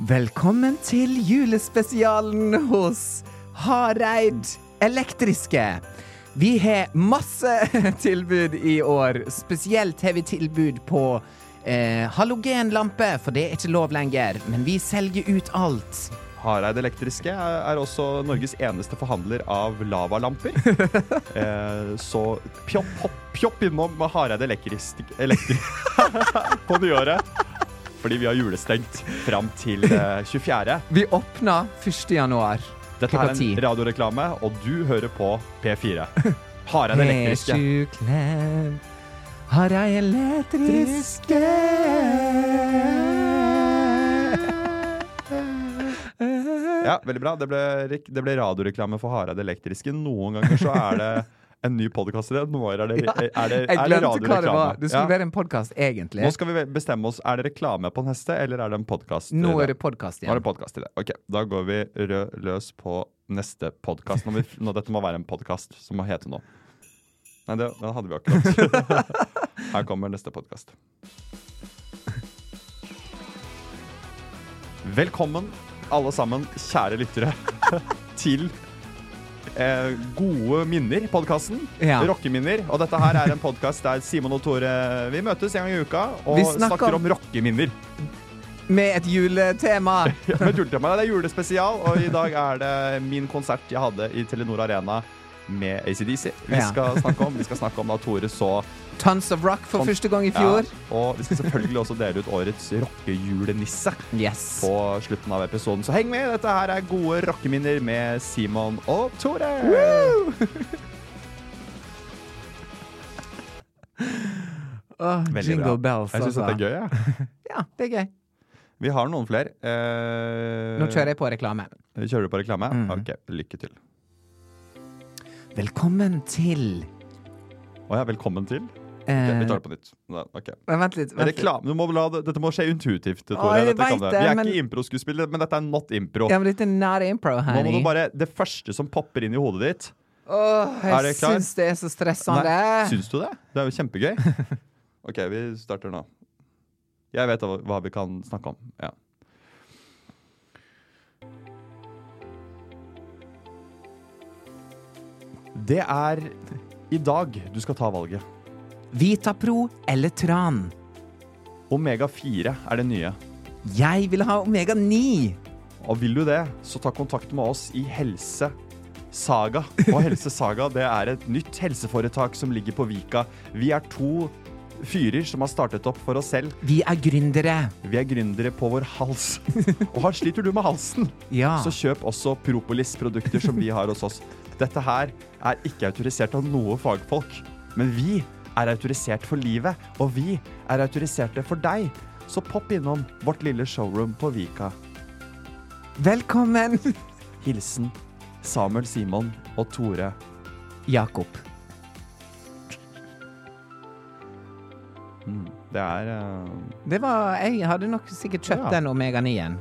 Speaker 2: Velkommen til julespesialen hos Hareid Elektriske. Vi har masse tilbud i år. Spesielt har vi tilbud på eh, halogenlampe, for det er ikke lov lenger. Men vi selger ut alt.
Speaker 3: Hareid Elektriske er, er også Norges eneste forhandler av lavalamper. eh, så pjopp, hopp, pjopp innom med Hareid Elektrisk elektri på nyåret. Fordi vi har julestengt fram til eh, 24.
Speaker 2: Vi åpna 1. januar
Speaker 3: Dette er
Speaker 2: klokka ti.
Speaker 3: en radioreklame, og du hører på P4. Hareid
Speaker 2: Er
Speaker 3: Elektriske.
Speaker 2: sju klem, har ei elektriske
Speaker 3: Ja, veldig bra. Det ble, rek- det ble radioreklame for Hareid Elektriske. Noen ganger så er det en ny podkastidé, noen ganger er det, er det, er det
Speaker 2: Jeg glemte hva det
Speaker 3: radioreklame.
Speaker 2: var. Det skulle
Speaker 3: Ja.
Speaker 2: være en podkast, egentlig.
Speaker 3: Nå skal vi bestemme oss. Er det reklame på neste, eller er det en podkast?
Speaker 2: Nå er det podkast
Speaker 3: Nå er
Speaker 2: igjen.
Speaker 3: det podkastidé. Ok, da går vi rød løs på neste podkast. Nå må vi- nå- Dette må være en podkast som må hete noe. Nei, det, den hadde vi akkurat. Her kommer neste podkast. Velkommen, alle sammen, kjære lyttere, til eh, Gode minner-podkasten.
Speaker 2: Ja.
Speaker 3: Rockeminner. Og dette her er en podkast der Simon og Tore eh, vi møtes en gang i uka og
Speaker 2: Vi
Speaker 3: snakker,
Speaker 2: snakker om-
Speaker 3: om rockeminner.
Speaker 2: Med et juletema.
Speaker 3: Ja, men Juletema, det er julespesial, og i dag er det min konsert jeg hadde i Telenor Arena med ACDC. Vi
Speaker 2: Ja.
Speaker 3: skal snakke om, vi skal snakke om da Tore så
Speaker 2: Tons of Rock for
Speaker 3: Tons-
Speaker 2: første gang i fjor.
Speaker 3: Ja, og vi skal selvfølgelig også dele ut årets rockejulenisse
Speaker 2: Yes.
Speaker 3: på slutten av episoden. Så heng med, dette her er gode rockeminner med Simon og Tore.
Speaker 2: Åh,
Speaker 3: Veldig
Speaker 2: jingle
Speaker 3: bra.
Speaker 2: bells,
Speaker 3: Jeg syns
Speaker 2: altså.
Speaker 3: dette er gøy, jeg.
Speaker 2: Ja, det er gøy.
Speaker 3: Vi har noen flere. Eh,
Speaker 2: Nå kjører jeg Mm. på reklame.
Speaker 3: Kjører du på reklame? OK, lykke til.
Speaker 2: Velkommen til
Speaker 3: Å ja, velkommen til. Ok,
Speaker 2: eh,
Speaker 3: vi tar det på nytt. Da, ok.
Speaker 2: men Vent litt. Vent litt.
Speaker 3: Reklame, du må la, det- dette må skje intuitivt. Tore.
Speaker 2: Å, jeg
Speaker 3: dette kan det.
Speaker 2: vet det,
Speaker 3: Vi er
Speaker 2: men-
Speaker 3: ikke impro-skuespillere, men dette er not impro.
Speaker 2: Ja, men dette er not impro,
Speaker 3: Nå må
Speaker 2: honey.
Speaker 3: du bare, Det første som popper inn i hodet ditt
Speaker 2: Åh,
Speaker 3: Er
Speaker 2: jeg
Speaker 3: dere klar?
Speaker 2: syns Sånn det er så stressende.
Speaker 3: Syns du det? Det er jo kjempegøy. OK, vi starter nå. Jeg vet hva hva vi kan snakke om. Ja. Det er i dag du skal ta valget.
Speaker 2: Vitapro eller tran?
Speaker 3: Omega 4 er det nye.
Speaker 2: Jeg vil ha Omega 9!
Speaker 3: Og vil du det, så ta kontakt med oss i Helse Saga. Og Helse Saga det er et nytt helseforetak som ligger på Vika. Vi er to fyrer som har startet opp for oss selv.
Speaker 2: Vi er gründere.
Speaker 3: Vi er gründere på vår hals. Og her sliter du med halsen,
Speaker 2: Ja.
Speaker 3: så kjøp også Propolis-produkter som vi har hos oss. Dette her er ikke autorisert av noe fagfolk, men vi er autorisert for livet, og vi er autoriserte for deg. Så popp innom vårt lille showroom på Vika.
Speaker 2: Velkommen,
Speaker 3: Hilsen Samuel Simon og Tore.
Speaker 2: Jakob.
Speaker 3: Det er eh,
Speaker 2: Det var Jeg hadde nok sikkert kjøpt
Speaker 3: Ja.
Speaker 2: den Omega 9-en.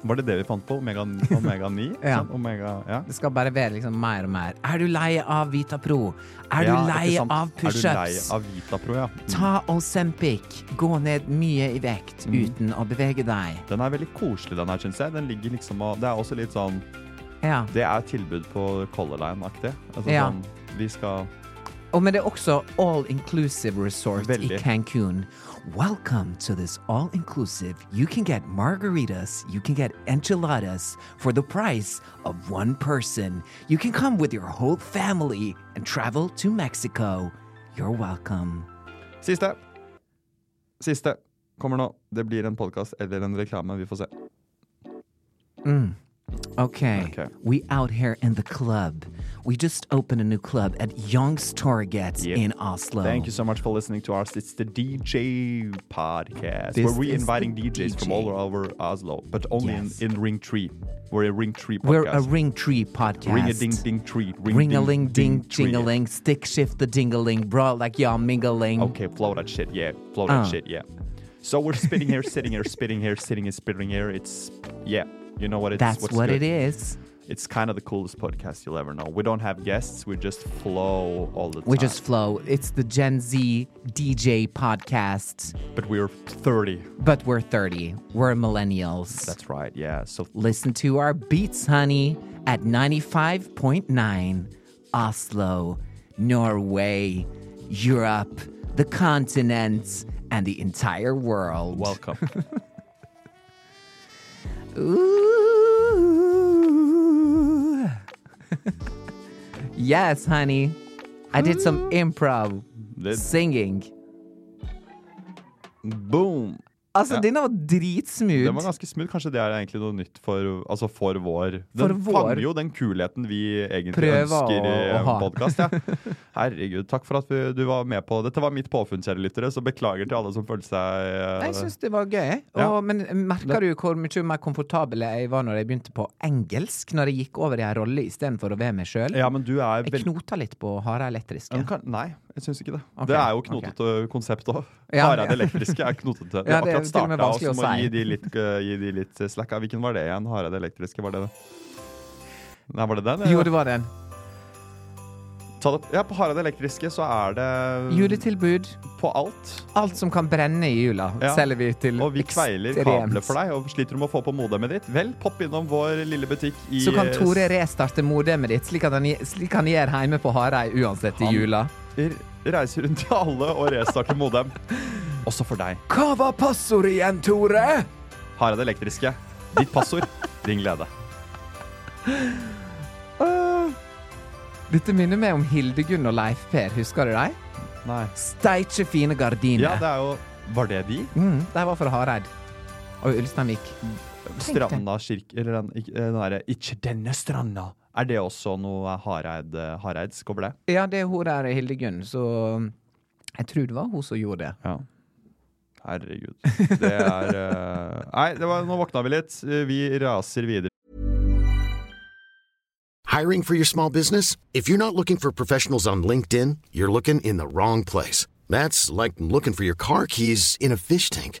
Speaker 3: Var det det vi fant på? Omega, omega 9?
Speaker 2: Ja.
Speaker 3: Sånn, Omega, ja.
Speaker 2: Det skal bare være liksom mer og mer. Er du lei av Vitapro? Er
Speaker 3: Ja,
Speaker 2: du lei
Speaker 3: ikke sant. Er
Speaker 2: av
Speaker 3: du lei
Speaker 2: pushups?
Speaker 3: av Vitapro, ja. Mm.
Speaker 2: Ta Ozempic. Gå ned mye i vekt
Speaker 3: Mm.
Speaker 2: uten å bevege deg.
Speaker 3: Den er veldig koselig, den her, syns jeg. Den ligger liksom og Det er også litt sånn
Speaker 2: Ja.
Speaker 3: Det er tilbud på Color Line-aktig. Altså
Speaker 2: Ja.
Speaker 3: sånn Vi skal
Speaker 2: Og men det er også all inclusive resort i
Speaker 3: Veldig.
Speaker 2: Cancun. Welcome to this all inclusive. You can get margaritas, you can get enchiladas for the price of one person. You can come with your whole family and travel to Mexico. You're welcome.
Speaker 3: Siste! Siste kommer nå. Det blir en podkast eller en reklame. Vi får se.
Speaker 2: Okay.
Speaker 3: Okay.
Speaker 2: We out here in the club. We just opened a new club at Young's Target
Speaker 3: Yep.
Speaker 2: in Oslo.
Speaker 3: Thank you so much for listening to us. It's the DJ podcast
Speaker 2: This
Speaker 3: where we're
Speaker 2: is
Speaker 3: inviting
Speaker 2: the
Speaker 3: DJs from
Speaker 2: DJ.
Speaker 3: all over Oslo, but only
Speaker 2: Yes.
Speaker 3: in, in Ring Tree. We're a Ring Tree podcast.
Speaker 2: We're a Ring Tree podcast.
Speaker 3: Ring a ding ding tree.
Speaker 2: Ring a ling ding,
Speaker 3: tree.
Speaker 2: jing a ling, stick shift the ding a ling, bro, like y'all mingling.
Speaker 3: Okay, flow that shit. Yeah, flow
Speaker 2: Ah.
Speaker 3: that shit. Yeah. So we're spitting here, sitting here, spitting here, sitting and spitting here. It's yeah. You know what it's
Speaker 2: That's
Speaker 3: what's
Speaker 2: what
Speaker 3: good.
Speaker 2: it is.
Speaker 3: It's kind of the coolest podcast you'll ever know. We don't have guests. We just flow all the time.
Speaker 2: We just flow. It's the Gen Z DJ podcast,
Speaker 3: but we're 30.
Speaker 2: but we're 30. We're millennials.
Speaker 3: That's right. Yeah. So
Speaker 2: Listen to our beats, honey, at 95.9 Oslo, Norway, Europe, the continent, and the entire world.
Speaker 3: welcome.
Speaker 2: Ooh. yes, honey. I did
Speaker 3: Mm.
Speaker 2: some improv
Speaker 3: Did-
Speaker 2: singing.
Speaker 3: Boom.
Speaker 2: Altså,
Speaker 3: Ja.
Speaker 2: den var
Speaker 3: Den var
Speaker 2: dritsmooth.
Speaker 3: ganske smooth. Kanskje det er egentlig noe nytt for, altså for vår Den
Speaker 2: For vår-
Speaker 3: fanger jo den kulheten vi egentlig
Speaker 2: Prøver
Speaker 3: ønsker i
Speaker 2: å- å
Speaker 3: en
Speaker 2: ha.
Speaker 3: podkast. Ja. Herregud, takk for at vi, du var med på Dette var mitt påfunn, kjære lyttere, så beklager til alle som følte seg eh,
Speaker 2: Jeg syns det var gøy. Og,
Speaker 3: Ja.
Speaker 2: Men eh, merker du hvor mye mer komfortabel jeg var når jeg begynte på engelsk? Når jeg gikk over i ei rolle istedenfor å være meg sjøl?
Speaker 3: Ja, men du er
Speaker 2: Jeg
Speaker 3: veldig
Speaker 2: knota litt på harde elektriske.
Speaker 3: Nei, jeg syns ikke det.
Speaker 2: Ok,
Speaker 3: Det er jo knotete konsept òg.
Speaker 2: Ja,
Speaker 3: Hareide
Speaker 2: ja.
Speaker 3: Elektriske er knotete. Det
Speaker 2: Ja,
Speaker 3: har
Speaker 2: det er
Speaker 3: akkurat
Speaker 2: til og med
Speaker 3: starta, og
Speaker 2: vanskelig
Speaker 3: så
Speaker 2: å
Speaker 3: må
Speaker 2: si.
Speaker 3: gi de litt, eh, gi de litt eh, slack. Ja, Hvilken var det igjen? Hareide Elektriske, var det det? Nei, var det den?
Speaker 2: Jo, det var den.
Speaker 3: Ta det- Ja, på Hareide Elektriske så er det
Speaker 2: Juletilbud.
Speaker 3: på alt.
Speaker 2: Alt som kan brenne i jula,
Speaker 3: Ja.
Speaker 2: selger vi til
Speaker 3: Og vi kveiler kabler for deg, og sliter du med å få på modemet ditt? Vel, popp innom vår lille butikk i
Speaker 2: Så kan Tore restarte modemet ditt, slik, at han, gje- slik han gjør hjemme på Hareid uansett i
Speaker 3: Han-
Speaker 2: jula.
Speaker 3: eh, reise rundt til alle og restarte modem. Også for deg.
Speaker 2: Hva var passordet igjen, Tore?
Speaker 3: Hareide Elektriske. Ditt passord. Din glede.
Speaker 2: Dette minner meg om Hildegunn og Leif Per, husker du dem?
Speaker 3: Nei.
Speaker 2: Steikje fine gardiner.
Speaker 3: Ja, det er jo Var det de?
Speaker 2: mm, de var fra Hareid. Og Ulsteinvik.
Speaker 3: Stranda kirke Eller den, ikke- eh, den derre Ikke denne stranda. Er det også noe Hareid, Hareidsk over det?
Speaker 2: Ja, det er hun der, Hildegunn, så jeg tror det var hun som gjorde det.
Speaker 3: Ja. Herregud. Det er eh, Nei, det var, nå våkna vi litt. Vi raser videre.
Speaker 4: Hiring for your small business? If you're not looking for professionals on LinkedIn, you're looking in the wrong place. That's like looking for your car keys in a fish tank.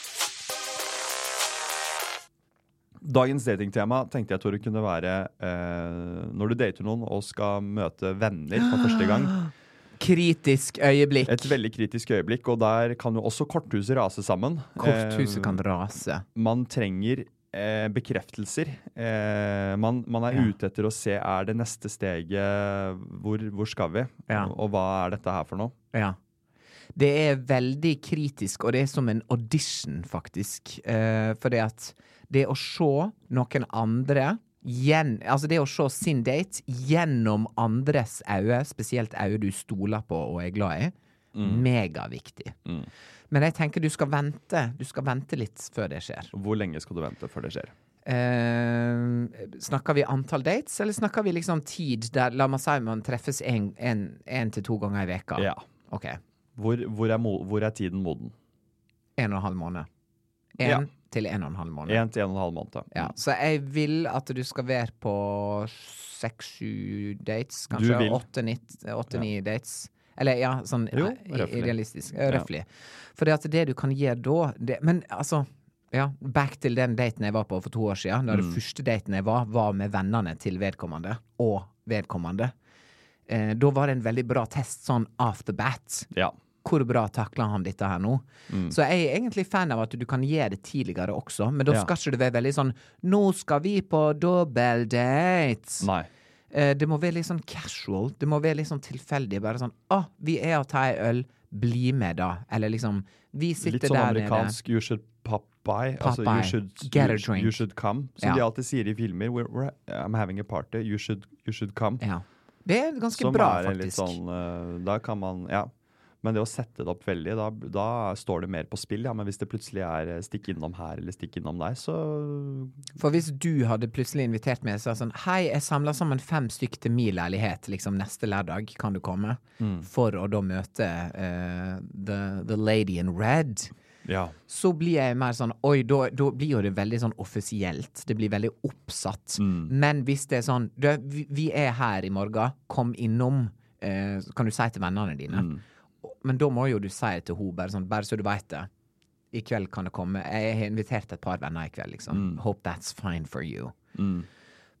Speaker 3: Dagens datingtema tenkte jeg Tore, kunne være eh, når du dater noen og skal møte venner for første gang.
Speaker 2: Kritisk øyeblikk.
Speaker 3: Et veldig kritisk øyeblikk, og der kan jo også korthuset rase sammen.
Speaker 2: Korthuset
Speaker 3: Eh,
Speaker 2: kan rase.
Speaker 3: man trenger eh, bekreftelser. Eh, man, man er
Speaker 2: Ja.
Speaker 3: ute etter å se er det neste steget hvor, hvor skal vi,
Speaker 2: Ja.
Speaker 3: og, og hva er dette her for noe?
Speaker 2: Ja. Det er veldig kritisk, og det er som en audition, faktisk. Eh, for det at det å se noen andre gjen, Altså det å se sin date gjennom andres øyne, spesielt øyne du stoler på og er glad i, megaviktig. Men jeg tenker du skal vente. Du skal vente litt før det skjer.
Speaker 3: Hvor lenge skal du vente før det skjer?
Speaker 2: Eh, snakker vi antall dates, eller snakker vi liksom tid der La meg si man treffes én til to ganger i veka
Speaker 3: Ja.
Speaker 2: Ok.
Speaker 3: Hvor, hvor, er, mo hvor er tiden moden?
Speaker 2: En og en halv måned. En
Speaker 3: Ja.
Speaker 2: til en og en halv måned.
Speaker 3: Én til en og en halv måned.
Speaker 2: Ja, så jeg vil at du skal være på seks-sju dates,
Speaker 3: Du
Speaker 2: kanskje.
Speaker 3: vil.
Speaker 2: Åtte-ni dates. Eller ja, sånn
Speaker 3: Jo,
Speaker 2: eh, i-
Speaker 3: røffelig.
Speaker 2: realistisk. eh, Røffelig. For det at det du kan gjøre da det, Men altså ja, Back til den daten jeg var på for to år siden. Da
Speaker 3: Mm.
Speaker 2: den første daten jeg var, var med vennene til vedkommende. Og vedkommende. Eh, da var det en veldig bra test sånn off the bat
Speaker 3: Ja.
Speaker 2: hvor bra takler han dette her nå?
Speaker 3: Mm.
Speaker 2: Så jeg er egentlig fan av at du kan gjøre det tidligere også, men da
Speaker 3: Ja.
Speaker 2: skal ikke det være veldig sånn Nå skal vi på dobbeldate!
Speaker 3: Nei.
Speaker 2: Eh, det må være litt sånn casual. Det må være litt sånn tilfeldig. Bare sånn Å, vi er og tar ei øl. Bli med, da. Eller liksom Vi
Speaker 3: Litt
Speaker 2: sitter
Speaker 3: sånn
Speaker 2: der
Speaker 3: amerikansk you should pop by. Altså, you
Speaker 2: Popeye.
Speaker 3: should,
Speaker 2: Get a
Speaker 3: you,
Speaker 2: drink.
Speaker 3: you should come. Som
Speaker 2: Ja.
Speaker 3: de alltid sier i filmer. We're, we're, I'm having a party. You should, you should come.
Speaker 2: nede. Ja. Det er ganske
Speaker 3: Som
Speaker 2: bra,
Speaker 3: er en litt
Speaker 2: faktisk.
Speaker 3: sånn eh, Da kan man Ja. Men det å sette det opp veldig, da, da står det mer på spill. Ja, men hvis det plutselig er eh, stikk innom her eller stikk innom der, så
Speaker 2: For hvis du hadde plutselig invitert meg og sa sånn Hei, jeg samler sammen fem stykk til min leilighet liksom neste lørdag, kan du komme? For å da møte eh, the, the lady in red.
Speaker 3: Ja.
Speaker 2: Så blir jeg mer sånn Oi, da, da blir jo det veldig sånn offisielt. Det blir veldig oppsatt. Men hvis det er sånn du, vi, vi er her i morgen, kom innom. eh, så kan du si til vennene dine. Men da må jo du si til henne, bare sånn, bare så du veit det. I kveld kan det komme. Jeg har invitert et par venner i kveld, liksom. Hope that's fine for you.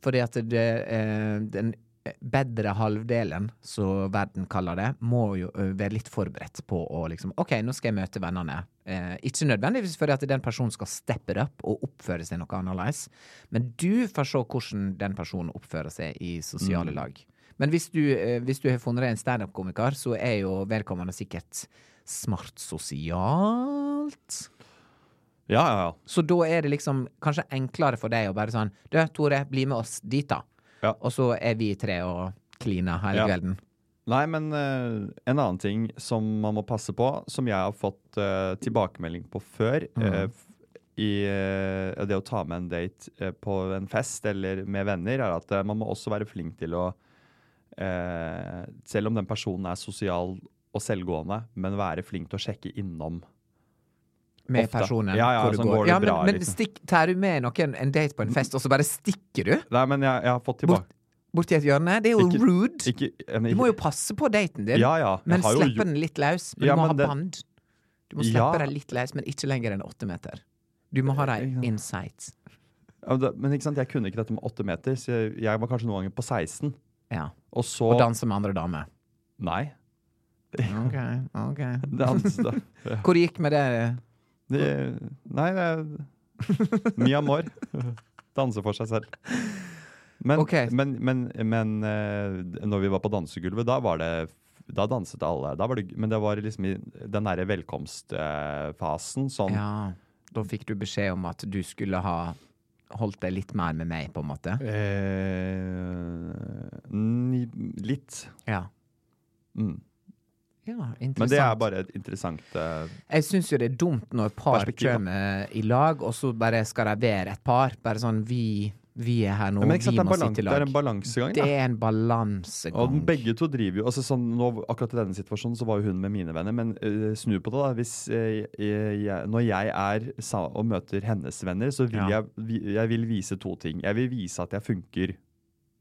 Speaker 2: Fordi at det, eh, den bedre halvdelen, som verden kaller det, må jo eh, være litt forberedt på å liksom OK, nå skal jeg møte vennene. Eh, ikke nødvendigvis fordi at den personen skal steppe det opp og oppføre seg noe annerledes, men du får se hvordan den personen oppfører seg i sosiale lag. Men hvis du, eh, hvis du har funnet deg en standup-komiker, så er jo vedkommende sikkert smart sosialt.
Speaker 3: Ja, ja, ja.
Speaker 2: Så da er det liksom kanskje enklere for deg å bare sånn Du, Tore, bli med oss dit, da.
Speaker 3: Ja.
Speaker 2: Og så er vi tre og kliner hele
Speaker 3: Ja.
Speaker 2: kvelden.
Speaker 3: Nei, men eh, en annen ting som man må passe på, som jeg har fått eh, tilbakemelding på før,
Speaker 2: Mm.
Speaker 3: eh, f- i eh, det å ta med en date eh, på en fest eller med venner, er at eh, man må også være flink til å eh, Selv om den personen er sosial og selvgående, men være flink til å sjekke innom.
Speaker 2: Med
Speaker 3: Ofte.
Speaker 2: personen.
Speaker 3: Ja, ja,
Speaker 2: hvor du
Speaker 3: sånn går det
Speaker 2: ja, men,
Speaker 3: bra,
Speaker 2: men
Speaker 3: liksom.
Speaker 2: stikk, tar du med noen en date på en fest, og så bare stikker du
Speaker 3: Nei, men jeg, jeg har fått tilbake...
Speaker 2: bort, bort i et hjørne? Det er jo
Speaker 3: Ikke-
Speaker 2: rude.
Speaker 3: Ikke, jeg,
Speaker 2: du må jo passe på daten din,
Speaker 3: Ja, ja. Jeg
Speaker 2: men
Speaker 3: har jo
Speaker 2: slippe
Speaker 3: gjort-
Speaker 2: den litt løs. Men
Speaker 3: Ja,
Speaker 2: du må
Speaker 3: men
Speaker 2: ha
Speaker 3: det-
Speaker 2: band. Du må
Speaker 3: Ja.
Speaker 2: slippe den litt løs, men ikke lenger enn åtte meter. Du må ha
Speaker 3: Ja.
Speaker 2: dem insight.
Speaker 3: Ja, men det- men ikke sant, jeg kunne ikke dette med åtte meter, så jeg, jeg var kanskje noen ganger på 16.
Speaker 2: Ja.
Speaker 3: Og så
Speaker 2: Og danse med andre damer.
Speaker 3: Nei.
Speaker 2: Ok, ok.
Speaker 3: Dans, da.
Speaker 2: Hvor det gikk med det?
Speaker 3: De, nei, det er Mi amor. Danse for seg selv. Men,
Speaker 2: Ok.
Speaker 3: men, men, men eh, når vi var på dansegulvet, da var det da danset alle. Da var det, men det var liksom i den derre velkomstfasen. Sånn
Speaker 2: Ja, da fikk du beskjed om at du skulle ha holdt deg litt mer med meg, på en måte?
Speaker 3: Eh, ni, litt.
Speaker 2: Ja.
Speaker 3: Mm.
Speaker 2: ja interessant.
Speaker 3: Men det er bare et interessant eh,
Speaker 2: Jeg syns jo det er dumt når par
Speaker 3: Perspektiv, da.
Speaker 2: kommer i lag, og så bare skal de være et par. Bare sånn vi, vi er her nå,
Speaker 3: Men ikke sant,
Speaker 2: vi
Speaker 3: det er,
Speaker 2: må
Speaker 3: balan- det
Speaker 2: sitte i
Speaker 3: er
Speaker 2: lag.
Speaker 3: en balansegang.
Speaker 2: Det
Speaker 3: da.
Speaker 2: er en
Speaker 3: Og
Speaker 2: balansegang.
Speaker 3: begge to driver jo altså sånn, nå, Akkurat i denne situasjonen så var jo hun med mine venner, men eh, snu på det, da. Hvis, eh, jeg, jeg, når jeg er sa, og møter hennes venner, så vil
Speaker 2: Ja.
Speaker 3: jeg, vi- jeg vil vise to ting. Jeg vil vise at jeg funker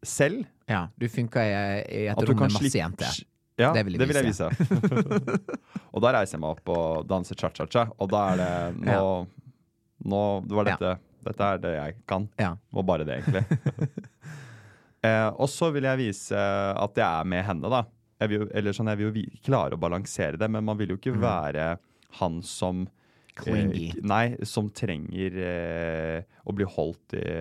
Speaker 3: selv.
Speaker 2: Ja, du funka i, i et
Speaker 3: At du
Speaker 2: rom
Speaker 3: kan
Speaker 2: med masse
Speaker 3: slippe-
Speaker 2: jenter.
Speaker 3: Ja,
Speaker 2: Det vil jeg
Speaker 3: det vil jeg vise. og da reiser jeg meg opp og danser cha-cha-cha, og da er det nå, nå Det var
Speaker 2: Ja.
Speaker 3: dette. Dette er det jeg kan.
Speaker 2: Ja.
Speaker 3: Og bare det, egentlig. eh, og så vil jeg vise at jeg er med henne, da. Jeg vil jo, eller sånn, jeg vil jo vi, klare å balansere det, men man vil jo ikke
Speaker 2: Mm.
Speaker 3: være han som eh,
Speaker 2: Clingy.
Speaker 3: ikke- nei, som trenger eh, å bli holdt i,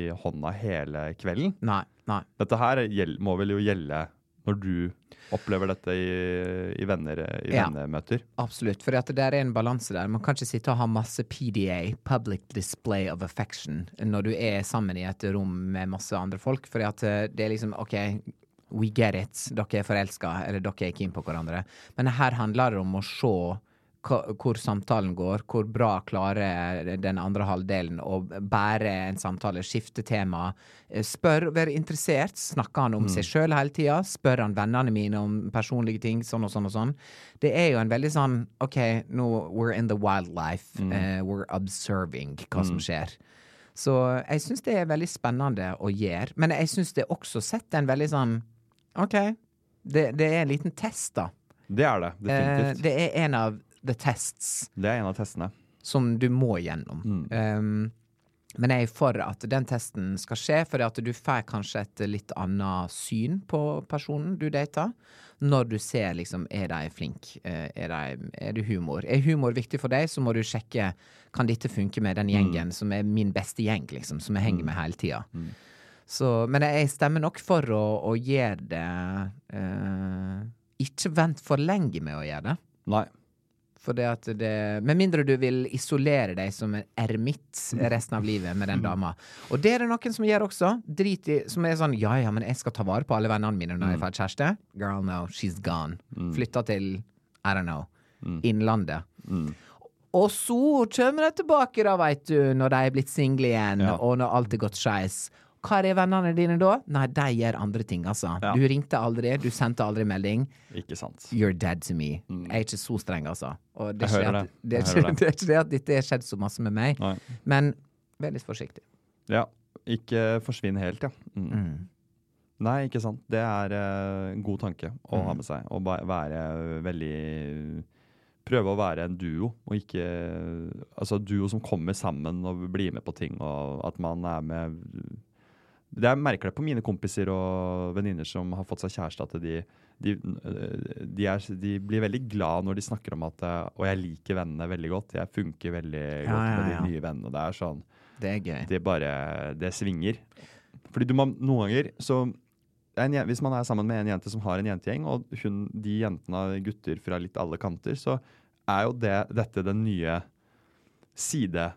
Speaker 3: i hånda hele kvelden.
Speaker 2: Nei, nei.
Speaker 3: Dette her gjel- må vel jo gjelde når du opplever dette i, i, venner, i
Speaker 2: Ja.
Speaker 3: vennemøter.
Speaker 2: Absolutt, for det der er en balanse der. Man kan ikke sitte og ha masse PDA, Public Display of Affection, når du er sammen i et rom med masse andre folk, for det er liksom OK, we get it, dere er forelska, eller dere er keen på hverandre, men her handler det om å se hva- hvor samtalen går, hvor bra klarer den andre halvdelen å bære en samtale, skifte tema, eh, spør, være interessert, snakker han om seg sjøl hele tida, spør han vennene mine om personlige ting, sånn og sånn og sånn. Det er jo en veldig sånn OK, nå we're in the wildlife, eh, we're observing hva som skjer. Så jeg syns det er veldig spennende å gjøre, men jeg syns det også setter en veldig sånn OK, det, det er en liten test, da.
Speaker 3: Det er det,
Speaker 2: Eh,
Speaker 3: definitivt.
Speaker 2: det er en av the tests
Speaker 3: det er en av testene.
Speaker 2: som du må gjennom. Um, men jeg er for at den testen skal skje, fordi at du får kanskje et litt annet syn på personen du dater, når du ser liksom er de flink, Eh, er, de, er det humor. Er humor viktig for deg, så må du sjekke kan dette funke med den gjengen som er min beste gjeng, liksom, som jeg henger med hele tida. Så, men jeg stemmer nok for å, å gjøre det eh, Ikke vent for lenge med å gjøre det.
Speaker 3: Nei.
Speaker 2: For det at det Med mindre du vil isolere deg som en eremitt resten av livet med den dama. Og det er det noen som gjør også. Drit i Som er sånn Ja ja, men jeg skal ta vare på alle vennene mine når jeg får kjæreste. Girl, no. She's gone.
Speaker 3: Mm.
Speaker 2: Flytta til I don't know. Innlandet.
Speaker 3: Mm.
Speaker 2: Og så kommer de tilbake, da, veit du, når de er blitt single igjen,
Speaker 3: Ja.
Speaker 2: og når alt er gått skeis. Hva er vennene dine da? Nei, de gjør andre ting, altså.
Speaker 3: Ja.
Speaker 2: Du ringte aldri, du sendte aldri melding.
Speaker 3: Ikke sant.
Speaker 2: You're dead to me. Jeg er ikke så streng, altså. Og det,
Speaker 3: Mm. Jeg
Speaker 2: er ikke
Speaker 3: hører
Speaker 2: at,
Speaker 3: det.
Speaker 2: det, er
Speaker 3: Jeg
Speaker 2: ikke,
Speaker 3: hører det.
Speaker 2: det er ikke det at dette har skjedd så masse med meg,
Speaker 3: Nei.
Speaker 2: men vær litt forsiktig.
Speaker 3: Ja. Ikke forsvinn helt, ja. Mm. Nei, ikke sant. Det er eh, en god tanke å
Speaker 2: Mhm.
Speaker 3: ha med seg. Å ba- være veldig Prøve å være en duo, og ikke Altså duo som kommer sammen og blir med på ting, og at man er med Det Jeg merker det på mine kompiser og venninner som har fått seg kjæreste, at de de, øh, de, er, de blir veldig glad når de snakker om at eh, Og jeg liker vennene veldig godt. Jeg funker veldig
Speaker 2: Ja,
Speaker 3: godt med
Speaker 2: ja, ja.
Speaker 3: de nye vennene. Det er sånn
Speaker 2: Det er gøy.
Speaker 3: det bare Det svinger. Fordi du må noen ganger så det er en, je- Hvis man er sammen med en jente som har en jentegjeng, og hun, de jentene har gutter fra litt alle kanter, så er jo det, dette den nye side...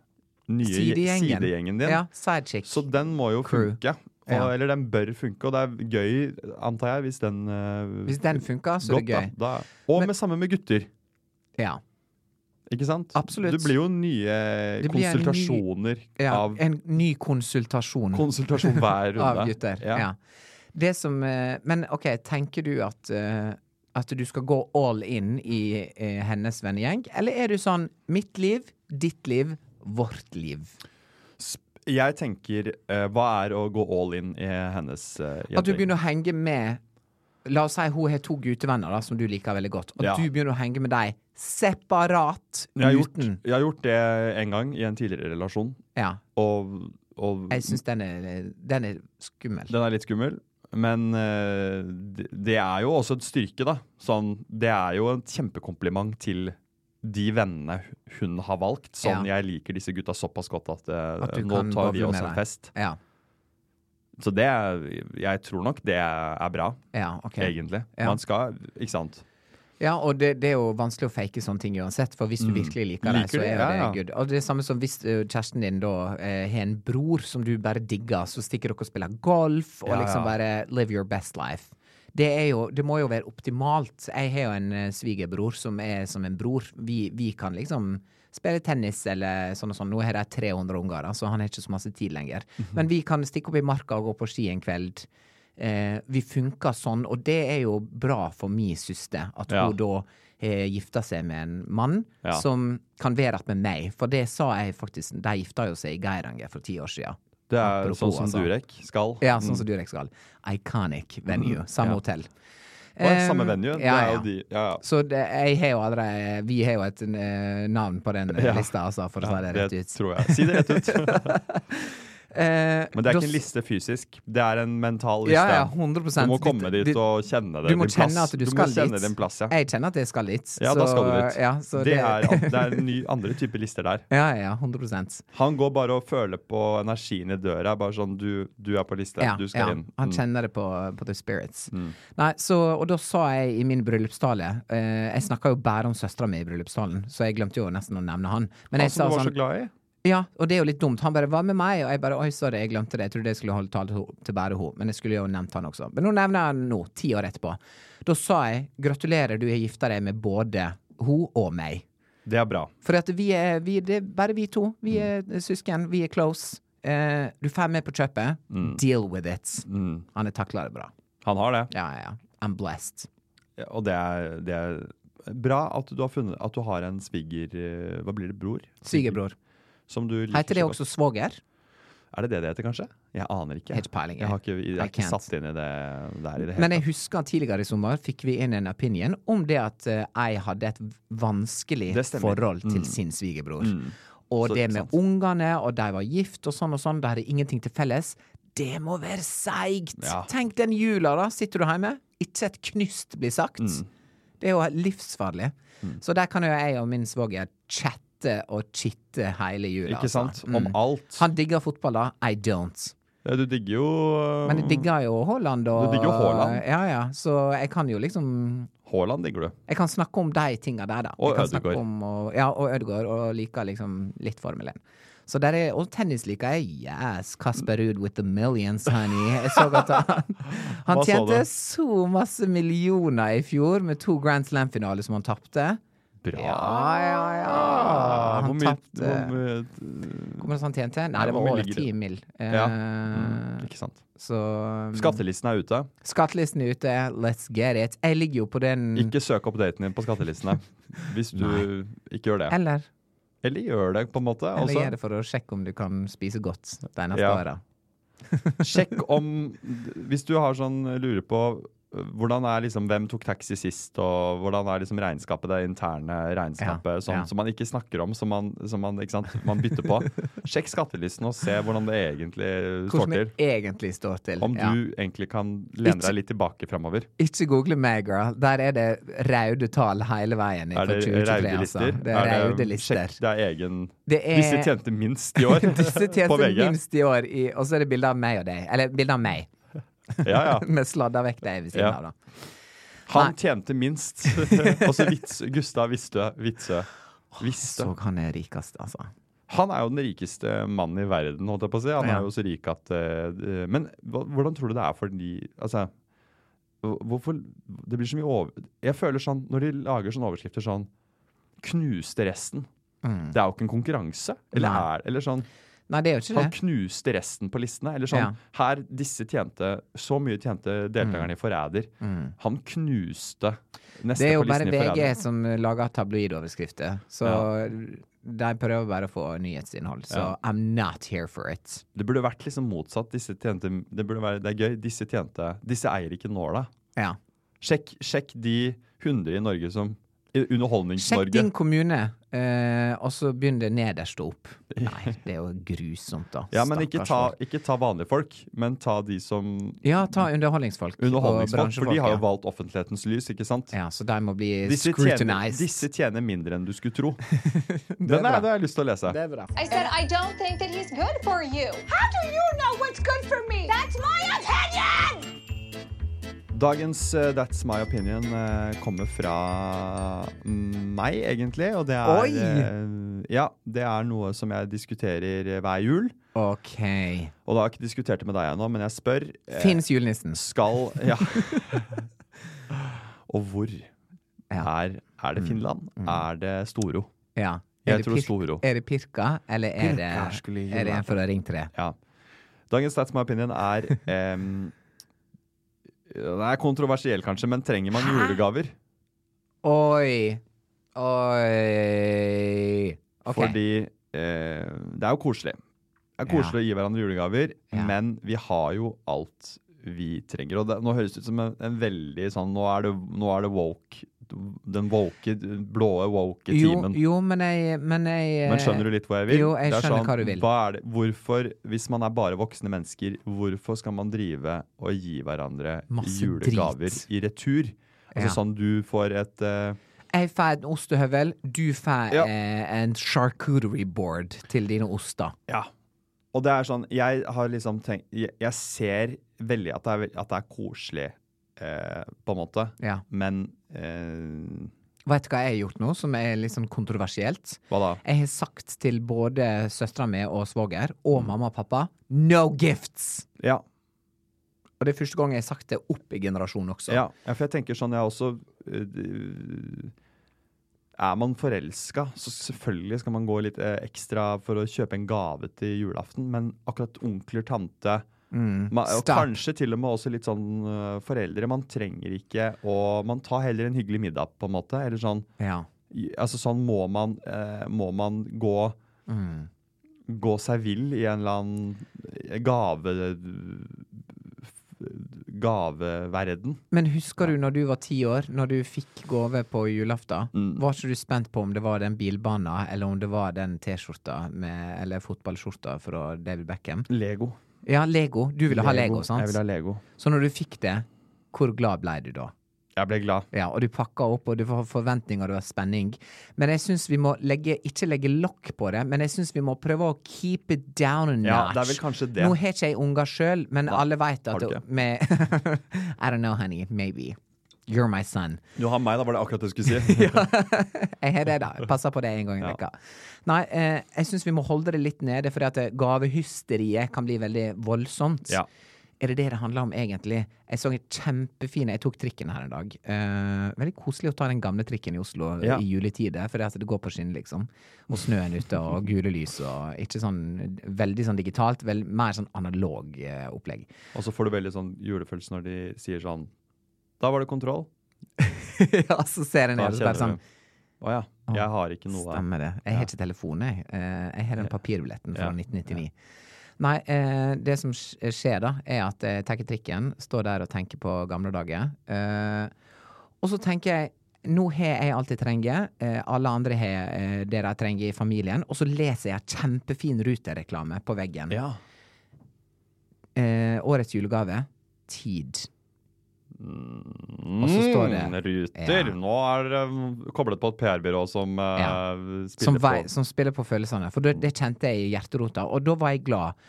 Speaker 3: Nye je-
Speaker 2: Sidegjengen.
Speaker 3: sidegjengen din.
Speaker 2: Ja, sidechick.
Speaker 3: Så den må jo
Speaker 2: Crew.
Speaker 3: funke. Og,
Speaker 2: Ja.
Speaker 3: Eller den bør funke, og det er gøy, antar jeg, hvis den eh,
Speaker 2: Hvis den funker, så er
Speaker 3: Godt,
Speaker 2: det gøy.
Speaker 3: Da, da. Og
Speaker 2: Men-
Speaker 3: med samme med gutter.
Speaker 2: Ja.
Speaker 3: Ikke sant?
Speaker 2: Absolutt.
Speaker 3: Det blir jo nye
Speaker 2: Det blir en ny-
Speaker 3: konsultasjoner
Speaker 2: ja.
Speaker 3: av
Speaker 2: En ny konsultasjon
Speaker 3: Konsultasjon hver runde.
Speaker 2: av gutter. Ja. Det som eh, Men OK, tenker du at eh, at du skal gå all in i eh, hennes vennegjeng, eller er du sånn mitt liv, ditt liv, vårt liv?
Speaker 3: Sp- Jeg tenker eh, Hva er å gå all in i hennes uh,
Speaker 2: At du begynner å henge med La oss si hun har to guttevenner da, som du liker veldig godt. At
Speaker 3: Ja.
Speaker 2: du begynner å henge med dem separat
Speaker 3: jeg har, gjort,
Speaker 2: uten
Speaker 3: jeg har gjort det en gang i en tidligere relasjon,
Speaker 2: Ja.
Speaker 3: og, og
Speaker 2: Jeg syns den, er- den er skummel.
Speaker 3: den er litt skummel. Men eh, det- det er jo også et styrke, da. Sånn, det er jo et kjempekompliment til de vennene hun har valgt. Sånn, jeg liker disse gutta såpass godt at, eh,
Speaker 2: At du
Speaker 3: nå
Speaker 2: kan
Speaker 3: tar vi
Speaker 2: bable
Speaker 3: oss
Speaker 2: med
Speaker 3: en
Speaker 2: deg.
Speaker 3: fest.
Speaker 2: Ja.
Speaker 3: Så det er, jeg tror nok det er bra,
Speaker 2: ja ok.
Speaker 3: egentlig.
Speaker 2: Ja.
Speaker 3: Man skal, ikke sant.
Speaker 2: Ja, og det, det er jo vanskelig å fake sånne ting uansett, for hvis du virkelig liker det,
Speaker 3: Mm. Liker
Speaker 2: så
Speaker 3: du?
Speaker 2: er jo
Speaker 3: Ja,
Speaker 2: det
Speaker 3: ja.
Speaker 2: good. Og det er samme som hvis eh, kjæresten din da eh, har en bror som du bare digger, så stikker dere og spiller golf, og
Speaker 3: Ja, ja.
Speaker 2: liksom bare live your best life. Det, er jo, det må jo være optimalt. Jeg har jo en eh, svigerbror som er som en bror. Vi, vi kan liksom spille tennis eller sånn og sånn. Nå har jeg 300 unger, da, så han har ikke så masse tid lenger.
Speaker 3: Mhm.
Speaker 2: Men vi kan stikke opp i marka og gå på ski en kveld. Eh, vi funker sånn, og det er jo bra for min søster at
Speaker 3: Ja.
Speaker 2: hun da har gifta seg med en mann
Speaker 3: Ja.
Speaker 2: som kan være att med meg. For det sa jeg faktisk De gifta jo seg i Geiranger for ti år siden.
Speaker 3: Det er
Speaker 2: Apropos,
Speaker 3: sånn som
Speaker 2: altså.
Speaker 3: Durek skal.
Speaker 2: Ja, sånn som Durek skal. Iconic venue. Samme
Speaker 3: Mm. Ja.
Speaker 2: hotell.
Speaker 3: Og er samme
Speaker 2: Em,
Speaker 3: venue.
Speaker 2: ja,
Speaker 3: det er
Speaker 2: ja.
Speaker 3: jo de, ja, ja.
Speaker 2: Så det, jeg har jo allerede Vi har jo et eh, navn på den eh, lista, altså, for å si det rett ut.
Speaker 3: tror jeg. Si det rett ut.
Speaker 2: Eh,
Speaker 3: Men det er
Speaker 2: da
Speaker 3: ikke en
Speaker 2: s-
Speaker 3: liste fysisk. Det er en mental liste.
Speaker 2: Ja, ja, 100
Speaker 3: Du må komme dit
Speaker 2: Du-
Speaker 3: og kjenne det.
Speaker 2: Du må
Speaker 3: eh, din plass.
Speaker 2: kjenne at du,
Speaker 3: må
Speaker 2: skal
Speaker 3: kjenne
Speaker 2: dit.
Speaker 3: din plass, ja.
Speaker 2: Jeg kjenner at jeg skal dit.
Speaker 3: Ja, da skal du dit.
Speaker 2: Ja, så
Speaker 3: det, er, an- det er en ny, andre typer lister der.
Speaker 2: Ja, ja, 100
Speaker 3: Han går bare og føler på energien i døra. Bare sånn Du, du er på lista.
Speaker 2: Ja,
Speaker 3: du skal
Speaker 2: ja.
Speaker 3: inn. Mm.
Speaker 2: Han kjenner det på, på the spirits. Nei, så, og da sa jeg i min bryllupstale eh, Jeg snakka jo bare om søstera mi i bryllupstalen, så jeg glemte jo nesten å nevne han. Men
Speaker 3: Han
Speaker 2: jeg
Speaker 3: som du
Speaker 2: sa
Speaker 3: Altså, var
Speaker 2: sånn
Speaker 3: så glad i.
Speaker 2: Ja, og det er jo litt dumt. Han bare 'hva med meg?' Og jeg bare 'oi, sorry, jeg glemte det'. Jeg trodde jeg skulle holde tale til ho- til bare hun, men jeg skulle jo nevnt han også. Men nå nevner jeg han nå, ti år etterpå. Da sa jeg 'gratulerer, du har gifta deg med både hun og meg'.
Speaker 3: Det er bra.
Speaker 2: For at vi er, vi, det er bare vi to. Vi er søsken, vi er close. Eh, du får med på kjøpet. Deal with it. Han har takla det bra.
Speaker 3: Han har det.
Speaker 2: Ja, ja, ja. I'm blessed.
Speaker 3: Og det er, det er bra at du har funnet At du har en sviger... eh, Hva blir det? Bror?
Speaker 2: Svigerbror.
Speaker 3: Som du liker
Speaker 2: Heter det
Speaker 3: så
Speaker 2: også svoger?
Speaker 3: godt. Er det det det heter, kanskje? Jeg aner ikke.
Speaker 2: Jeg har ikke peiling, jeg.
Speaker 3: Jeg har ikke, jeg
Speaker 2: I
Speaker 3: er ikke
Speaker 2: can't.
Speaker 3: satt inn i det der i det
Speaker 2: Men
Speaker 3: hele
Speaker 2: jeg husker tidligere i sommer fikk vi inn en opinion om det at eh, jeg hadde et vanskelig
Speaker 3: Det stemmer. Mm.
Speaker 2: forhold til sin svigerbror. Og
Speaker 3: Så-
Speaker 2: det
Speaker 3: ikke
Speaker 2: med
Speaker 3: sant.
Speaker 2: ungene, og de var gift og sånn og sånn, de hadde ingenting til felles. Det må være seigt!
Speaker 3: Ja.
Speaker 2: Tenk den jula, da. Sitter du hjemme, ikke et knyst blir sagt.
Speaker 3: Mm.
Speaker 2: Det er jo livsfarlig. Så der kan jo jeg og min svoger chatte og chitte hele jula. Mm.
Speaker 3: Ikke sant? Om alt.
Speaker 2: Altså, Han digger fotball, da. I don't.
Speaker 3: Ja, du digger jo
Speaker 2: Men jeg digger jo Haaland og
Speaker 3: Du Mm. digger jo Haaland.
Speaker 2: Ja, ja. Så jeg kan jo liksom
Speaker 3: um, Haaland digger du.
Speaker 2: jeg kan snakke om de tinga der, da.
Speaker 3: Og
Speaker 2: jeg kan snakke
Speaker 3: Ødegaard.
Speaker 2: Om, og, ja, og Ødegaard. Og liker liksom litt Formel 1. Så der er, og tennis liker jeg. Yes, Kasper Ruud with the millions, honey. Jeg så at han Han
Speaker 3: Hva sa
Speaker 2: tjente
Speaker 3: du?
Speaker 2: så masse millioner i fjor med to Grand Slam-finaler som han tapte.
Speaker 3: Bra!
Speaker 2: Ja, ja, ja.
Speaker 3: Ah,
Speaker 2: Han
Speaker 3: hvor mye,
Speaker 2: tapte
Speaker 3: hvor mye-
Speaker 2: Hvor mye han tjente? Nei,
Speaker 3: Mm. Ja,
Speaker 2: det
Speaker 3: hvor
Speaker 2: var
Speaker 3: mye ligger
Speaker 2: over
Speaker 3: det?
Speaker 2: ti mill.
Speaker 3: Ja. Mm.
Speaker 2: Eh,
Speaker 3: Ikke sant.
Speaker 2: Så
Speaker 3: Skattelisten er ute.
Speaker 2: Skattelisten er ute. Let's get it. Jeg ligger jo på den
Speaker 3: Ikke søk opp daten din på skattelistene hvis du ikke gjør det.
Speaker 2: Eller?
Speaker 3: Eller gjør det, på en måte.
Speaker 2: Eller
Speaker 3: Også,
Speaker 2: gjør det for å sjekke om du kan spise godt de
Speaker 3: Altså?
Speaker 2: neste
Speaker 3: Ja.
Speaker 2: åra.
Speaker 3: sjekk om Hvis du har sånn lurer på øh, hvordan er liksom, Hvem tok taxi sist, og hvordan er liksom regnskapet, det interne regnskapet,
Speaker 2: Ja,
Speaker 3: sånn,
Speaker 2: ja.
Speaker 3: som man ikke snakker om, som man, som man, ikke sant, man bytter på. Sjekk skattelisten og se hvordan det egentlig står
Speaker 2: Hvordan det
Speaker 3: til.
Speaker 2: egentlig står til.
Speaker 3: Om
Speaker 2: Ja.
Speaker 3: du egentlig kan lene
Speaker 2: Ikke-
Speaker 3: deg litt tilbake framover.
Speaker 2: Ikke google meg, girl. Der er det raude tall hele veien.
Speaker 3: Er det
Speaker 2: for 2023,
Speaker 3: raude
Speaker 2: altså.
Speaker 3: lister? um,
Speaker 2: Det er raude lister. Eh.
Speaker 3: Sjekk, det er egen
Speaker 2: Det er-
Speaker 3: Disse tjente minst i år
Speaker 2: Disse
Speaker 3: på
Speaker 2: tjente
Speaker 3: VG.
Speaker 2: minst i år, i, og så er det bilde av meg og deg. Eller bilde av meg.
Speaker 3: Ja, ja.
Speaker 2: Vi sladder vekk deg ved siden
Speaker 3: Ja.
Speaker 2: av, da.
Speaker 3: Han
Speaker 2: Nei.
Speaker 3: tjente minst. Og så Vits- Gustav Vistø. Vitsø.
Speaker 2: Så
Speaker 3: Vistø.
Speaker 2: han er rikest, altså.
Speaker 3: Han er jo den rikeste mannen i verden, holdt jeg på å si. Han
Speaker 2: Ja.
Speaker 3: er jo så rik at eh, Men hva- hvordan tror du det er for de Altså, hvor- hvorfor Det blir så mye over... Jeg føler sånn, når de lager sånne overskrifter sånn Knuste resten. Det er jo ikke en konkurranse. Eller,
Speaker 2: Mm. Nei.
Speaker 3: er, eller sånn
Speaker 2: Nei, det er jo ikke det.
Speaker 3: Han knuste resten på listene. Eller sånn
Speaker 2: Ja. Mm.
Speaker 3: Her, disse tjente Så mye tjente deltakerne i Forræder. Han knuste neste
Speaker 2: Det er jo
Speaker 3: på
Speaker 2: bare
Speaker 3: listen i
Speaker 2: VG
Speaker 3: Forræder.
Speaker 2: som lager tabloidoverskrifter. Så de prøver bare å få nyhetsinnhold. Så I'm not here for it.
Speaker 3: Det burde vært liksom motsatt. Disse tjente Det burde være Det er gøy. Disse tjente Disse eier ikke nåla.
Speaker 2: Ja.
Speaker 3: Sjekk, sjekk de 100 i Norge som i
Speaker 2: Sjekk
Speaker 3: Underholdnings-Norge.
Speaker 2: din kommune, eh, og så begynn det nederst opp. Nei, det er jo grusomt, da.
Speaker 3: Ja, men ikke
Speaker 2: Stakkars
Speaker 3: ta,
Speaker 2: folk.
Speaker 3: ikke ta vanlige folk, men ta de som
Speaker 2: Ja, ta underholdningsfolk. og
Speaker 3: Underholdningsfolk. For de har jo
Speaker 2: ja.
Speaker 3: valgt offentlighetens lys, ikke sant?
Speaker 2: Ja, så de må bli
Speaker 3: Disse tjener,
Speaker 2: scrutinized.
Speaker 3: disse tjener mindre enn du skulle tro. Den er, det har jeg lyst til å lese.
Speaker 2: Det er bra.
Speaker 5: I said, I don't think that he's good for you. How do you know what's good for me? That's my opinion!
Speaker 3: Dagens eh, That's My Opinion eh, kommer fra mm, meg, egentlig. Og det er,
Speaker 2: Oi!
Speaker 3: eh, ja, det er noe som jeg diskuterer eh, hver jul.
Speaker 2: OK.
Speaker 3: Og da har jeg ikke diskutert det med deg ennå, men jeg spør. eh,
Speaker 2: Fins julenissen?
Speaker 3: Skal Ja. og hvor?
Speaker 2: Ja. Mm.
Speaker 3: Er, er det Finland? Er det Storo?
Speaker 2: Ja.
Speaker 3: Jeg
Speaker 2: Er det
Speaker 3: tror
Speaker 2: pirk-
Speaker 3: Storo.
Speaker 2: Er det Pirka, eller er det,
Speaker 3: Pirka skulle
Speaker 2: er det
Speaker 3: gjøre.
Speaker 2: en fra Ring 3?
Speaker 3: Ja. Dagens That's My Opinion er em, Den er kontroversiell, kanskje, men trenger man julegaver?
Speaker 2: Oi. Oi. OK.
Speaker 3: Fordi eh, det er jo koselig. Det er koselig å gi hverandre julegaver,
Speaker 2: Ja.
Speaker 3: men vi har jo alt vi trenger. Og det, nå høres det ut som en, en veldig sånn Nå er det, nå er det woke. Den woke, blå woke
Speaker 2: jo,
Speaker 3: timen.
Speaker 2: jo, men jeg Men, jeg,
Speaker 3: Men skjønner du litt hva jeg vil?
Speaker 2: Jo, jeg
Speaker 3: Det er sånn,
Speaker 2: skjønner hva du vil.
Speaker 3: Hva er det, hvorfor, hvis man er bare voksne mennesker, hvorfor skal man drive og gi hverandre
Speaker 2: Masse
Speaker 3: julegaver
Speaker 2: drit.
Speaker 3: i retur? Altså
Speaker 2: Ja.
Speaker 3: sånn du får et eh,
Speaker 2: Jeg får en ostehøvel, du får
Speaker 3: Ja.
Speaker 2: eh, en charcuterie board til dine oster.
Speaker 3: Ja. Og det er sånn Jeg har liksom tenkt Jeg, jeg ser veldig at det er, vel- at det er koselig, eh, på en måte,
Speaker 2: Ja.
Speaker 3: men eh,
Speaker 2: Vet du hva jeg har gjort nå, som er litt sånn kontroversielt?
Speaker 3: Hva da?
Speaker 2: Jeg har sagt til både søstera mi og svoger, og mamma og pappa, no gifts!
Speaker 3: Ja.
Speaker 2: Og det er første gang jeg har sagt det opp i generasjonen også.
Speaker 3: Ja, ja, for jeg tenker sånn, jeg er også eh, d- Er man forelska, så selvfølgelig skal man gå litt eh, ekstra for å kjøpe en gave til julaften, men akkurat onkler, tante ma, Og
Speaker 2: Stop.
Speaker 3: kanskje til og med også litt sånn eh, foreldre. Man trenger ikke å Man tar heller en hyggelig middag, på en måte. Eller sånn
Speaker 2: Ja.
Speaker 3: i- Altså sånn må man, eh, må man gå
Speaker 2: Mm.
Speaker 3: Gå seg vill i en eller annen eh, gave gaveverden.
Speaker 2: Men husker du når du var ti år, når du fikk gave på julaften?
Speaker 3: Mm.
Speaker 2: Var ikke du spent på om det var den bilbana, eller om det var den T-skjorta med- eller fotballskjorta fra David Beckham?
Speaker 3: Lego.
Speaker 2: Ja, Lego. Du ville ha Lego, sant?
Speaker 3: Jeg vil ha Lego.
Speaker 2: Så når du fikk det, hvor glad ble du da?
Speaker 3: Jeg ble glad.
Speaker 2: Ja, og du pakka opp, og du har forventninger, og du har spenning. Men jeg syns vi må legge, ikke legge lokk på det, men jeg syns vi må prøve å keep it down a notch.
Speaker 3: Ja, det er vel kanskje det.
Speaker 2: Nå har ikke jeg unger sjøl, men alle veit
Speaker 3: har
Speaker 2: at
Speaker 3: du
Speaker 2: det-
Speaker 3: ikke?
Speaker 2: med I don't know, honey. Maybe. You're my son.
Speaker 3: Du har meg, da var det akkurat det jeg skulle si.
Speaker 2: Jeg har det, da. Passer på det en gang i veka. Nei, eh, jeg syns vi må holde det litt nede, for at eh, gavehysteriet kan bli veldig voldsomt.
Speaker 3: Ja.
Speaker 2: Er det det det handler om, egentlig? Jeg så en kjempefin Jeg tok trikken her en dag. Eh, veldig koselig å ta den gamle trikken i Oslo
Speaker 3: Ja.
Speaker 2: i juletider, for det, at det går på skinner, liksom. Og snøen ute, og gule lys, og ikke sånn veldig sånn digitalt, vel, mer sånn analog eh, opplegg.
Speaker 3: Og så får du veldig sånn julefølelse når de sier sånn Da var det kontroll.
Speaker 2: ja, så ser jeg
Speaker 3: Da
Speaker 2: ned, og så
Speaker 3: kjenner
Speaker 2: bare sånn
Speaker 3: du Å ja. Jeg har ikke noe
Speaker 2: Stemmer det. Jeg har ikke telefon, jeg. Eh, Jeg har den papirbilletten fra
Speaker 3: Ja.
Speaker 2: 1999. Nei, eh, det som sk- skjer da, er at jeg tenker trikken, står der og tenker på gamle dager. Eh, Og så tenker jeg nå har jeg alt jeg trenger, eh, alle andre har eh, det de trenger i familien. Og så leser jeg en kjempefin Ruter-reklame på veggen.
Speaker 3: Ja.
Speaker 2: Eh, årets julegave tid. Og så står
Speaker 3: Mm,
Speaker 2: det
Speaker 3: Ruter!
Speaker 2: Ja.
Speaker 3: Nå er det um, koblet på et PR-byrå som uh,
Speaker 2: Ja.
Speaker 3: spiller
Speaker 2: som, vei,
Speaker 3: på
Speaker 2: som spiller på følelsene. For det, det kjente jeg i hjerterota, og da var jeg glad.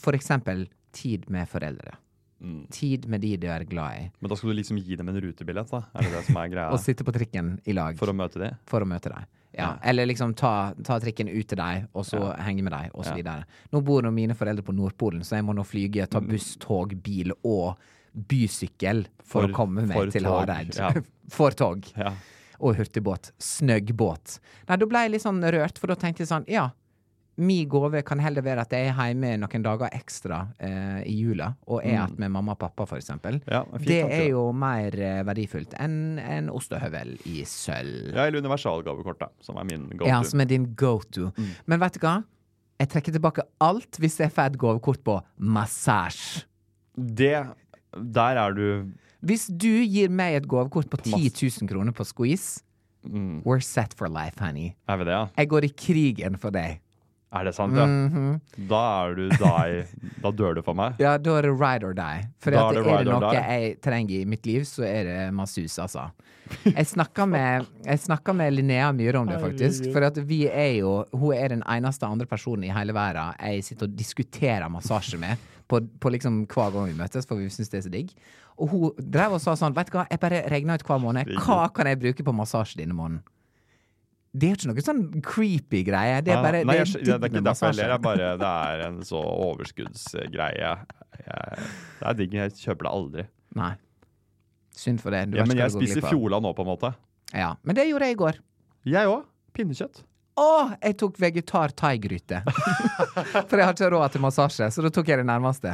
Speaker 2: For eksempel tid med foreldre.
Speaker 3: Mm.
Speaker 2: Tid med de du er glad i.
Speaker 3: Men da skal du liksom gi dem en rutebillett, da? Er det det som er
Speaker 2: Og
Speaker 3: greia?
Speaker 2: sitte på trikken i lag
Speaker 3: For
Speaker 2: for å,
Speaker 3: å møte de?
Speaker 2: møte deg. Ja. Eller liksom ta, ta trikken ut til deg, og så henge med deg, og så videre. Nå bor nå mine foreldre på Nordpolen, så jeg må nå flyge,
Speaker 3: Mm.
Speaker 2: ta buss, tog, bil og bysykkel for,
Speaker 3: For-
Speaker 2: å komme meg
Speaker 3: for
Speaker 2: til
Speaker 3: tog,
Speaker 2: Hareid.
Speaker 3: ja.
Speaker 2: for tog.
Speaker 3: Ja.
Speaker 2: og hurtigbåt. Snøgg båt. Nei, da ble jeg litt sånn rørt, for da tenkte jeg sånn, ja. Mi gave kan heller være at jeg er hjemme noen dager ekstra eh, i jula, og er igjen med mamma og pappa, for eksempel.
Speaker 3: Mm. Ja, en fin
Speaker 2: det
Speaker 3: tanke,
Speaker 2: er
Speaker 3: da.
Speaker 2: jo mer eh, verdifullt enn en ostehøvel i sølv.
Speaker 3: ja, eller universalgavekort, da. Som er min go-to.
Speaker 2: Ja, som er din go-to.
Speaker 3: Mm.
Speaker 2: Men vet du hva? Jeg trekker tilbake alt hvis jeg får et gavekort på massasje.
Speaker 3: Det Der er du
Speaker 2: Hvis du gir meg et gavekort på 10 000 kroner på squeeze,
Speaker 3: mm,
Speaker 2: we're set for life, honey.
Speaker 3: Er vi det, ja?
Speaker 2: Jeg går i krigen for deg.
Speaker 3: Er det sant, ja?
Speaker 2: Mhm.
Speaker 3: Da er du deg Da dør du for meg.
Speaker 2: Ja, da er det ride or die. For
Speaker 3: Da er
Speaker 2: at er
Speaker 3: det
Speaker 2: det,
Speaker 3: ride or
Speaker 2: noe
Speaker 3: die.
Speaker 2: jeg trenger i mitt liv, så er det masseuse, altså. Jeg snakka med, jeg snakka med Linnea Myhre om det, faktisk. For at vi er jo Hun er den eneste andre personen i hele verden jeg sitter og diskuterer massasje med på, på liksom hver gang vi møtes, for vi syns det er så digg. Og hun drev og sa sånn Vet du hva, jeg bare regner ut hver måned. Hva kan jeg bruke på massasje denne måneden? Det er jo ikke noe sånn creepy greie. Det er bare
Speaker 3: Ah, Nei, jeg,
Speaker 2: det
Speaker 3: skj-
Speaker 2: er
Speaker 3: det
Speaker 2: digg
Speaker 3: er ikke
Speaker 2: med
Speaker 3: derfor jeg ler. Det
Speaker 2: massasje.
Speaker 3: er bare det er en så overskuddsgreie. Jeg, det er digg. Jeg kjøper det aldri.
Speaker 2: Nei. Synd for det. Du
Speaker 3: Ja,
Speaker 2: vet
Speaker 3: men
Speaker 2: ikke hva
Speaker 3: jeg
Speaker 2: du går
Speaker 3: spiser
Speaker 2: glipp av.
Speaker 3: fjola nå, på en måte.
Speaker 2: Ja, men det gjorde jeg i går.
Speaker 3: Jeg òg. Pinnekjøtt.
Speaker 2: Å, jeg tok vegetar-thaigryte! For jeg har ikke råd til massasje, så da tok jeg det nærmeste.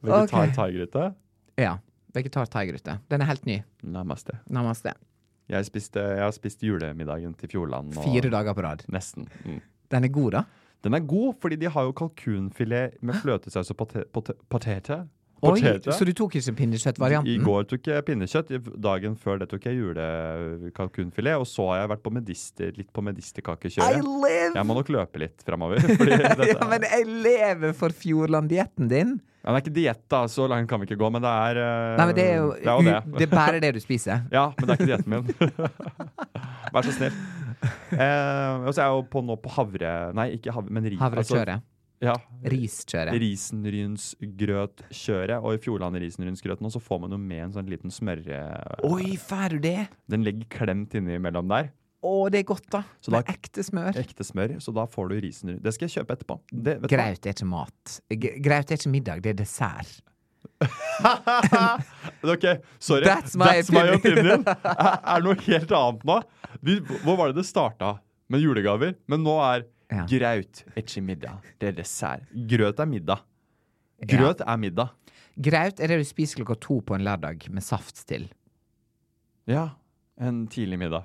Speaker 3: Vegetar
Speaker 2: Ok.
Speaker 3: thaigryte.
Speaker 2: Ja. Vegetar-thaigryte. Den er helt ny.
Speaker 3: Namaste.
Speaker 2: Namaste.
Speaker 3: Jeg, spiste, jeg har spist julemiddagen til Fjordland nå.
Speaker 2: Fire dager på rad.
Speaker 3: Nesten. Mm.
Speaker 2: Den er god, da.
Speaker 3: Den er god, fordi de har jo kalkunfilet med fløtesaus og pote- pote- poteter.
Speaker 2: Oi,
Speaker 3: Poteter.
Speaker 2: så du tok
Speaker 3: I
Speaker 2: ikke pinnekjøttvarianten?
Speaker 3: går tok jeg pinnekjøtt. I Dagen før det tok jeg julekalkunfilet. Og så har jeg vært på medister, litt på
Speaker 2: I
Speaker 3: medisterkakekjøret.
Speaker 2: live!
Speaker 3: Jeg må nok løpe litt framover. Fordi dette,
Speaker 2: Ja, men jeg lever for Fjordland-dietten din!
Speaker 3: Ja, det er ikke diett, da. Så langt kan vi ikke gå. Men det er eh,
Speaker 2: Nei, men det er jo
Speaker 3: det. Er jo det.
Speaker 2: u- Det er bare det du spiser.
Speaker 3: Ja, men det er ikke dietten min. Vær så snill. Eh, og så er jeg jo på, nå på havre... Nei, ikke havre, men ri. Altså,
Speaker 2: Havrekjøret.
Speaker 3: ja.
Speaker 2: Riskjøret.
Speaker 3: Risenrynsgrøtkjøret. Og i Fjordland risenrynsgrøt nå, så får man jo med en sånn liten smørje...
Speaker 2: Oi, får du det?
Speaker 3: Den ligger klemt innimellom der.
Speaker 2: Å, det er godt, da.
Speaker 3: Så
Speaker 2: Med
Speaker 3: da-
Speaker 2: ekte smør.
Speaker 3: Ekte smør, så da får du risenryn. Det skal jeg kjøpe etterpå. Det, vet du hva?
Speaker 2: Graut er ikke mat. G- Graut er ikke middag, det er dessert.
Speaker 3: Ok, sorry.
Speaker 2: That's my opinion.
Speaker 3: Er er det noe helt annet nå? Vi, hvor var det det starta? Med julegaver? Men nå er
Speaker 2: Ja.
Speaker 3: graut er ikke middag, det er dessert. Grøt er middag. Grøt er middag.
Speaker 2: Graut er det du spiser klokka to på en lørdag med saft til.
Speaker 3: Ja, en tidlig middag.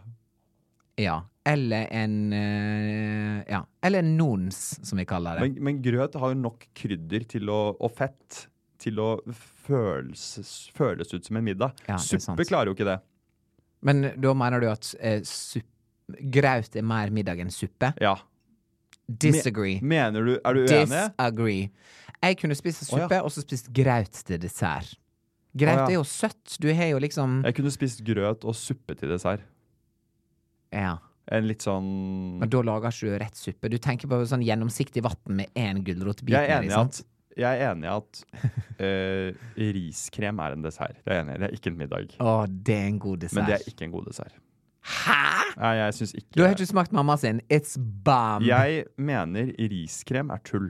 Speaker 2: Ja. Eller en eh, Ja. Eller en nons, som vi kaller det.
Speaker 3: Men, men grøt har jo nok krydder til å, og fett til å føles, føles ut som en middag.
Speaker 2: Ja, det er sant.
Speaker 3: Suppe klarer jo ikke det.
Speaker 2: Men, da mener du at eh, supp- Graut er mer middag enn suppe?
Speaker 3: Ja.
Speaker 2: Disagree.
Speaker 3: Mener du Er du uenig?
Speaker 2: Disagree. Jeg kunne spist
Speaker 3: Å, ja.
Speaker 2: suppe, og så spist graut til dessert. Graut
Speaker 3: Å, ja.
Speaker 2: er jo søtt. Du har jo liksom
Speaker 3: Jeg kunne spist grøt og suppe til dessert.
Speaker 2: Ja.
Speaker 3: En litt sånn
Speaker 2: Men da lager ikke du rett suppe. Du tenker på sånn gjennomsiktig vann med én gulrotbit.
Speaker 3: Jeg er enig
Speaker 2: nedi,
Speaker 3: i
Speaker 2: sant?
Speaker 3: at, jeg er enig i at eh, riskrem er en dessert. Det er jeg enig i. Det er ikke en middag.
Speaker 2: Å, det er en god dessert.
Speaker 3: Men det er ikke en god dessert. Hæ?! Nei, jeg syns
Speaker 2: Du har
Speaker 3: ikke
Speaker 2: ikke smakt mamma sin. It's bomb.
Speaker 3: Jeg mener riskrem er tull.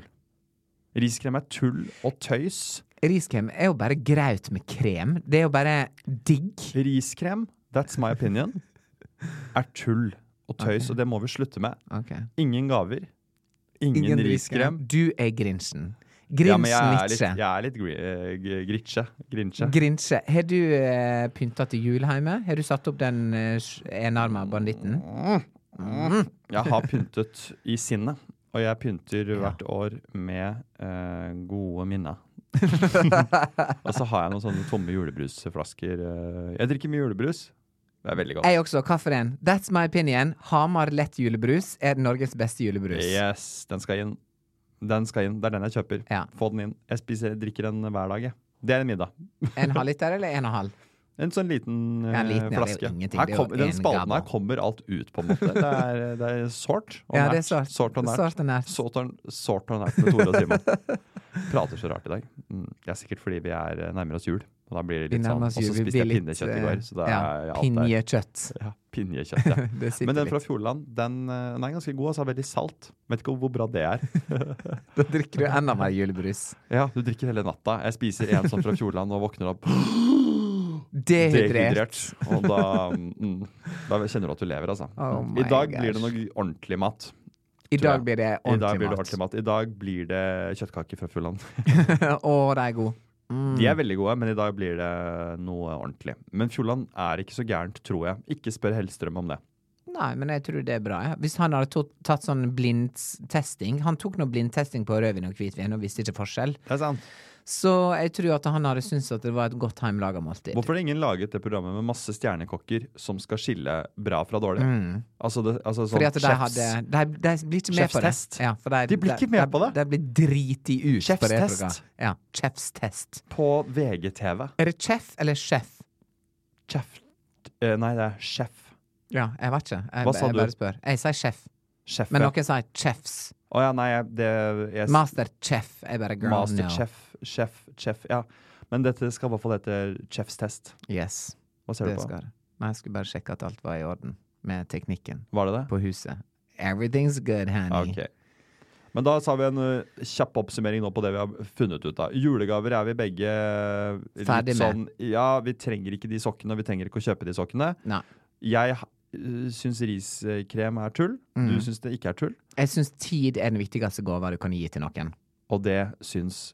Speaker 3: Riskrem er tull og tøys.
Speaker 2: Riskrem er jo bare graut med krem. Det er jo bare digg.
Speaker 3: Riskrem, that's my opinion, er tull og tøys, og det må vi slutte med. Ingen gaver. Ingen, riskrem.
Speaker 2: Du er Grinchen.
Speaker 3: Ja,
Speaker 2: Grinchen
Speaker 3: men jeg er litt,
Speaker 2: Nietzsche.
Speaker 3: jeg er litt gri, eh, g- gritche. Grinche.
Speaker 2: Grinche. Har du uh, pynta til jul hjemme? Har du satt opp den uh, enarma banditten?
Speaker 3: Jeg har pyntet i sinnet, og jeg pynter hvert år med eh, gode minner. og så har jeg noen sånne tomme julebrusflasker. eh, jeg drikker mye julebrus. Det er veldig godt.
Speaker 2: Jeg også. Hva for en? That's my opinion. Hamar lett julebrus er Norges beste julebrus.
Speaker 3: Yes, den skal inn. Den skal inn. Det er den jeg kjøper.
Speaker 2: Ja.
Speaker 3: Få den inn. Jeg spiser, drikker den hver dag, jeg. Det er en middag.
Speaker 2: En halvliter eller en og en halv?
Speaker 3: En sånn liten, eh,
Speaker 2: Ja, liten er det jo
Speaker 3: flaske.
Speaker 2: ingenting.
Speaker 3: Her
Speaker 2: Det er jo
Speaker 3: kom, den
Speaker 2: en
Speaker 3: spalten her
Speaker 2: gabba.
Speaker 3: kommer alt ut, på en måte. Det er, det er sårt og
Speaker 2: Ja,
Speaker 3: nært.
Speaker 2: det er sårt.
Speaker 3: Sårt og nært.
Speaker 2: Sårt og nært.
Speaker 3: Sårt og- sårt og nært med Tore og Simon. Prater så rart i dag. Mm, Det er sikkert fordi vi er eh, nærmer oss jul. Og da blir det
Speaker 2: Vi
Speaker 3: litt sånn.
Speaker 2: nærmer
Speaker 3: Og
Speaker 2: oss
Speaker 3: så
Speaker 2: jul. Vi
Speaker 3: spiste
Speaker 2: blir
Speaker 3: jeg
Speaker 2: litt,
Speaker 3: pinnekjøtt i
Speaker 2: eh,
Speaker 3: går. Så det er
Speaker 2: ja,
Speaker 3: alt der.
Speaker 2: Pinnekjøtt.
Speaker 3: Ja, pinnekjøtt, ja.
Speaker 2: Det sitter
Speaker 3: Men den
Speaker 2: litt.
Speaker 3: fra Fjordland, den, eh, den er ganske god. Altså er veldig salt. Vet ikke hvor bra det er.
Speaker 2: Da drikker du enda mer julebrus.
Speaker 3: Ja, du drikker hele natta. Jeg spiser en sånn fra Fjordland og våkner opp
Speaker 2: Dehydrert.
Speaker 3: dehydrert. Og da, mm, da kjenner du at du lever, altså.
Speaker 2: Oh my
Speaker 3: I dag
Speaker 2: gosh.
Speaker 3: blir det noe ordentlig mat.
Speaker 2: I
Speaker 3: tror
Speaker 2: dag
Speaker 3: jeg.
Speaker 2: blir det
Speaker 3: I dag blir det
Speaker 2: ordentlig
Speaker 3: ordentlig
Speaker 2: mat.
Speaker 3: mat. I dag blir det kjøttkaker fra Fuland.
Speaker 2: Å, de er gode. Mm.
Speaker 3: De er veldig gode, men i dag blir det noe ordentlig. Men Fjordland er ikke så gærent, tror jeg. Ikke spør Hellstrøm om det.
Speaker 2: Nei, men jeg tror det er bra. Ja. Hvis han hadde to- tatt sånn blindtesting Han tok noe blindtesting på rødvin og hvitvin og visste ikke forskjell.
Speaker 3: Det er sant.
Speaker 2: Så jeg tror at han hadde syntes at det var et godt heimelaga måltid.
Speaker 3: Hvorfor har ingen laget det programmet med masse stjernekokker som skal skille bra fra dårlig? Altså, det, altså sånn
Speaker 2: Mm. Fordi at de,
Speaker 3: chefs-
Speaker 2: hadde, de, de blir ikke med på det.
Speaker 3: Chefstest.
Speaker 2: Ja, for de,
Speaker 3: De blir ikke med
Speaker 2: de,
Speaker 3: på det.
Speaker 2: De blir driti ut på det.
Speaker 3: Chefstest.
Speaker 2: programmet. Ja, chefstest.
Speaker 3: På VGTV.
Speaker 2: Er det chef eller chef?
Speaker 3: Chef... eh, Nei, det er sjef.
Speaker 2: Ja, jeg vet ikke. Jeg,
Speaker 3: Hva sa
Speaker 2: jeg
Speaker 3: du?
Speaker 2: bare spør. Jeg sier chef.
Speaker 3: Chef.
Speaker 2: Men
Speaker 3: ja.
Speaker 2: noen sa chefs.
Speaker 3: Å ja, nei, jeg- det jeg,
Speaker 2: Masterchef. Jeg bare girl,
Speaker 3: Masterchef, chef, chef. Ja. Men dette skal i hvert fall hete Chef's Test.
Speaker 2: No. Yes.
Speaker 3: Hva ser
Speaker 2: Det
Speaker 3: du på?
Speaker 2: skal det. Men jeg skulle bare sjekke at alt var i orden med teknikken
Speaker 3: Var det det?
Speaker 2: på huset. Everything's good, honey.
Speaker 3: Ok. Men da sa vi en ø, kjapp oppsummering nå på det vi har funnet ut av. Julegaver er vi begge ø, litt
Speaker 2: Ferdig med.
Speaker 3: sånn Ja, vi trenger ikke de sokkene, og vi trenger ikke å kjøpe de sokkene.
Speaker 2: Nei.
Speaker 3: Jeg ha- ø, syns riskrem er tull.
Speaker 2: Mm.
Speaker 3: Du syns det ikke er tull.
Speaker 2: Jeg syns tid er den viktigste gava du kan gi til noen.
Speaker 3: Og det syns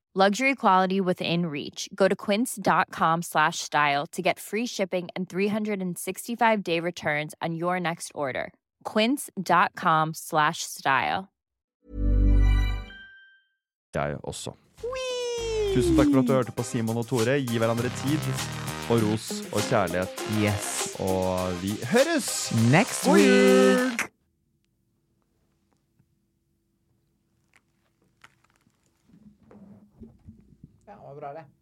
Speaker 6: Luxury quality within reach. Go to quince.com slash style to get free shipping and 365 day returns on your next order. Quince.com slash style.
Speaker 3: jeg også. Tusen takk for at du hørte på Simon og Tore. Gi hverandre tid og ros og kjærlighet.
Speaker 2: Yes.
Speaker 3: Og vi høres!
Speaker 2: Next
Speaker 3: God
Speaker 2: week!
Speaker 3: jul!
Speaker 2: Ja, det var bra, det.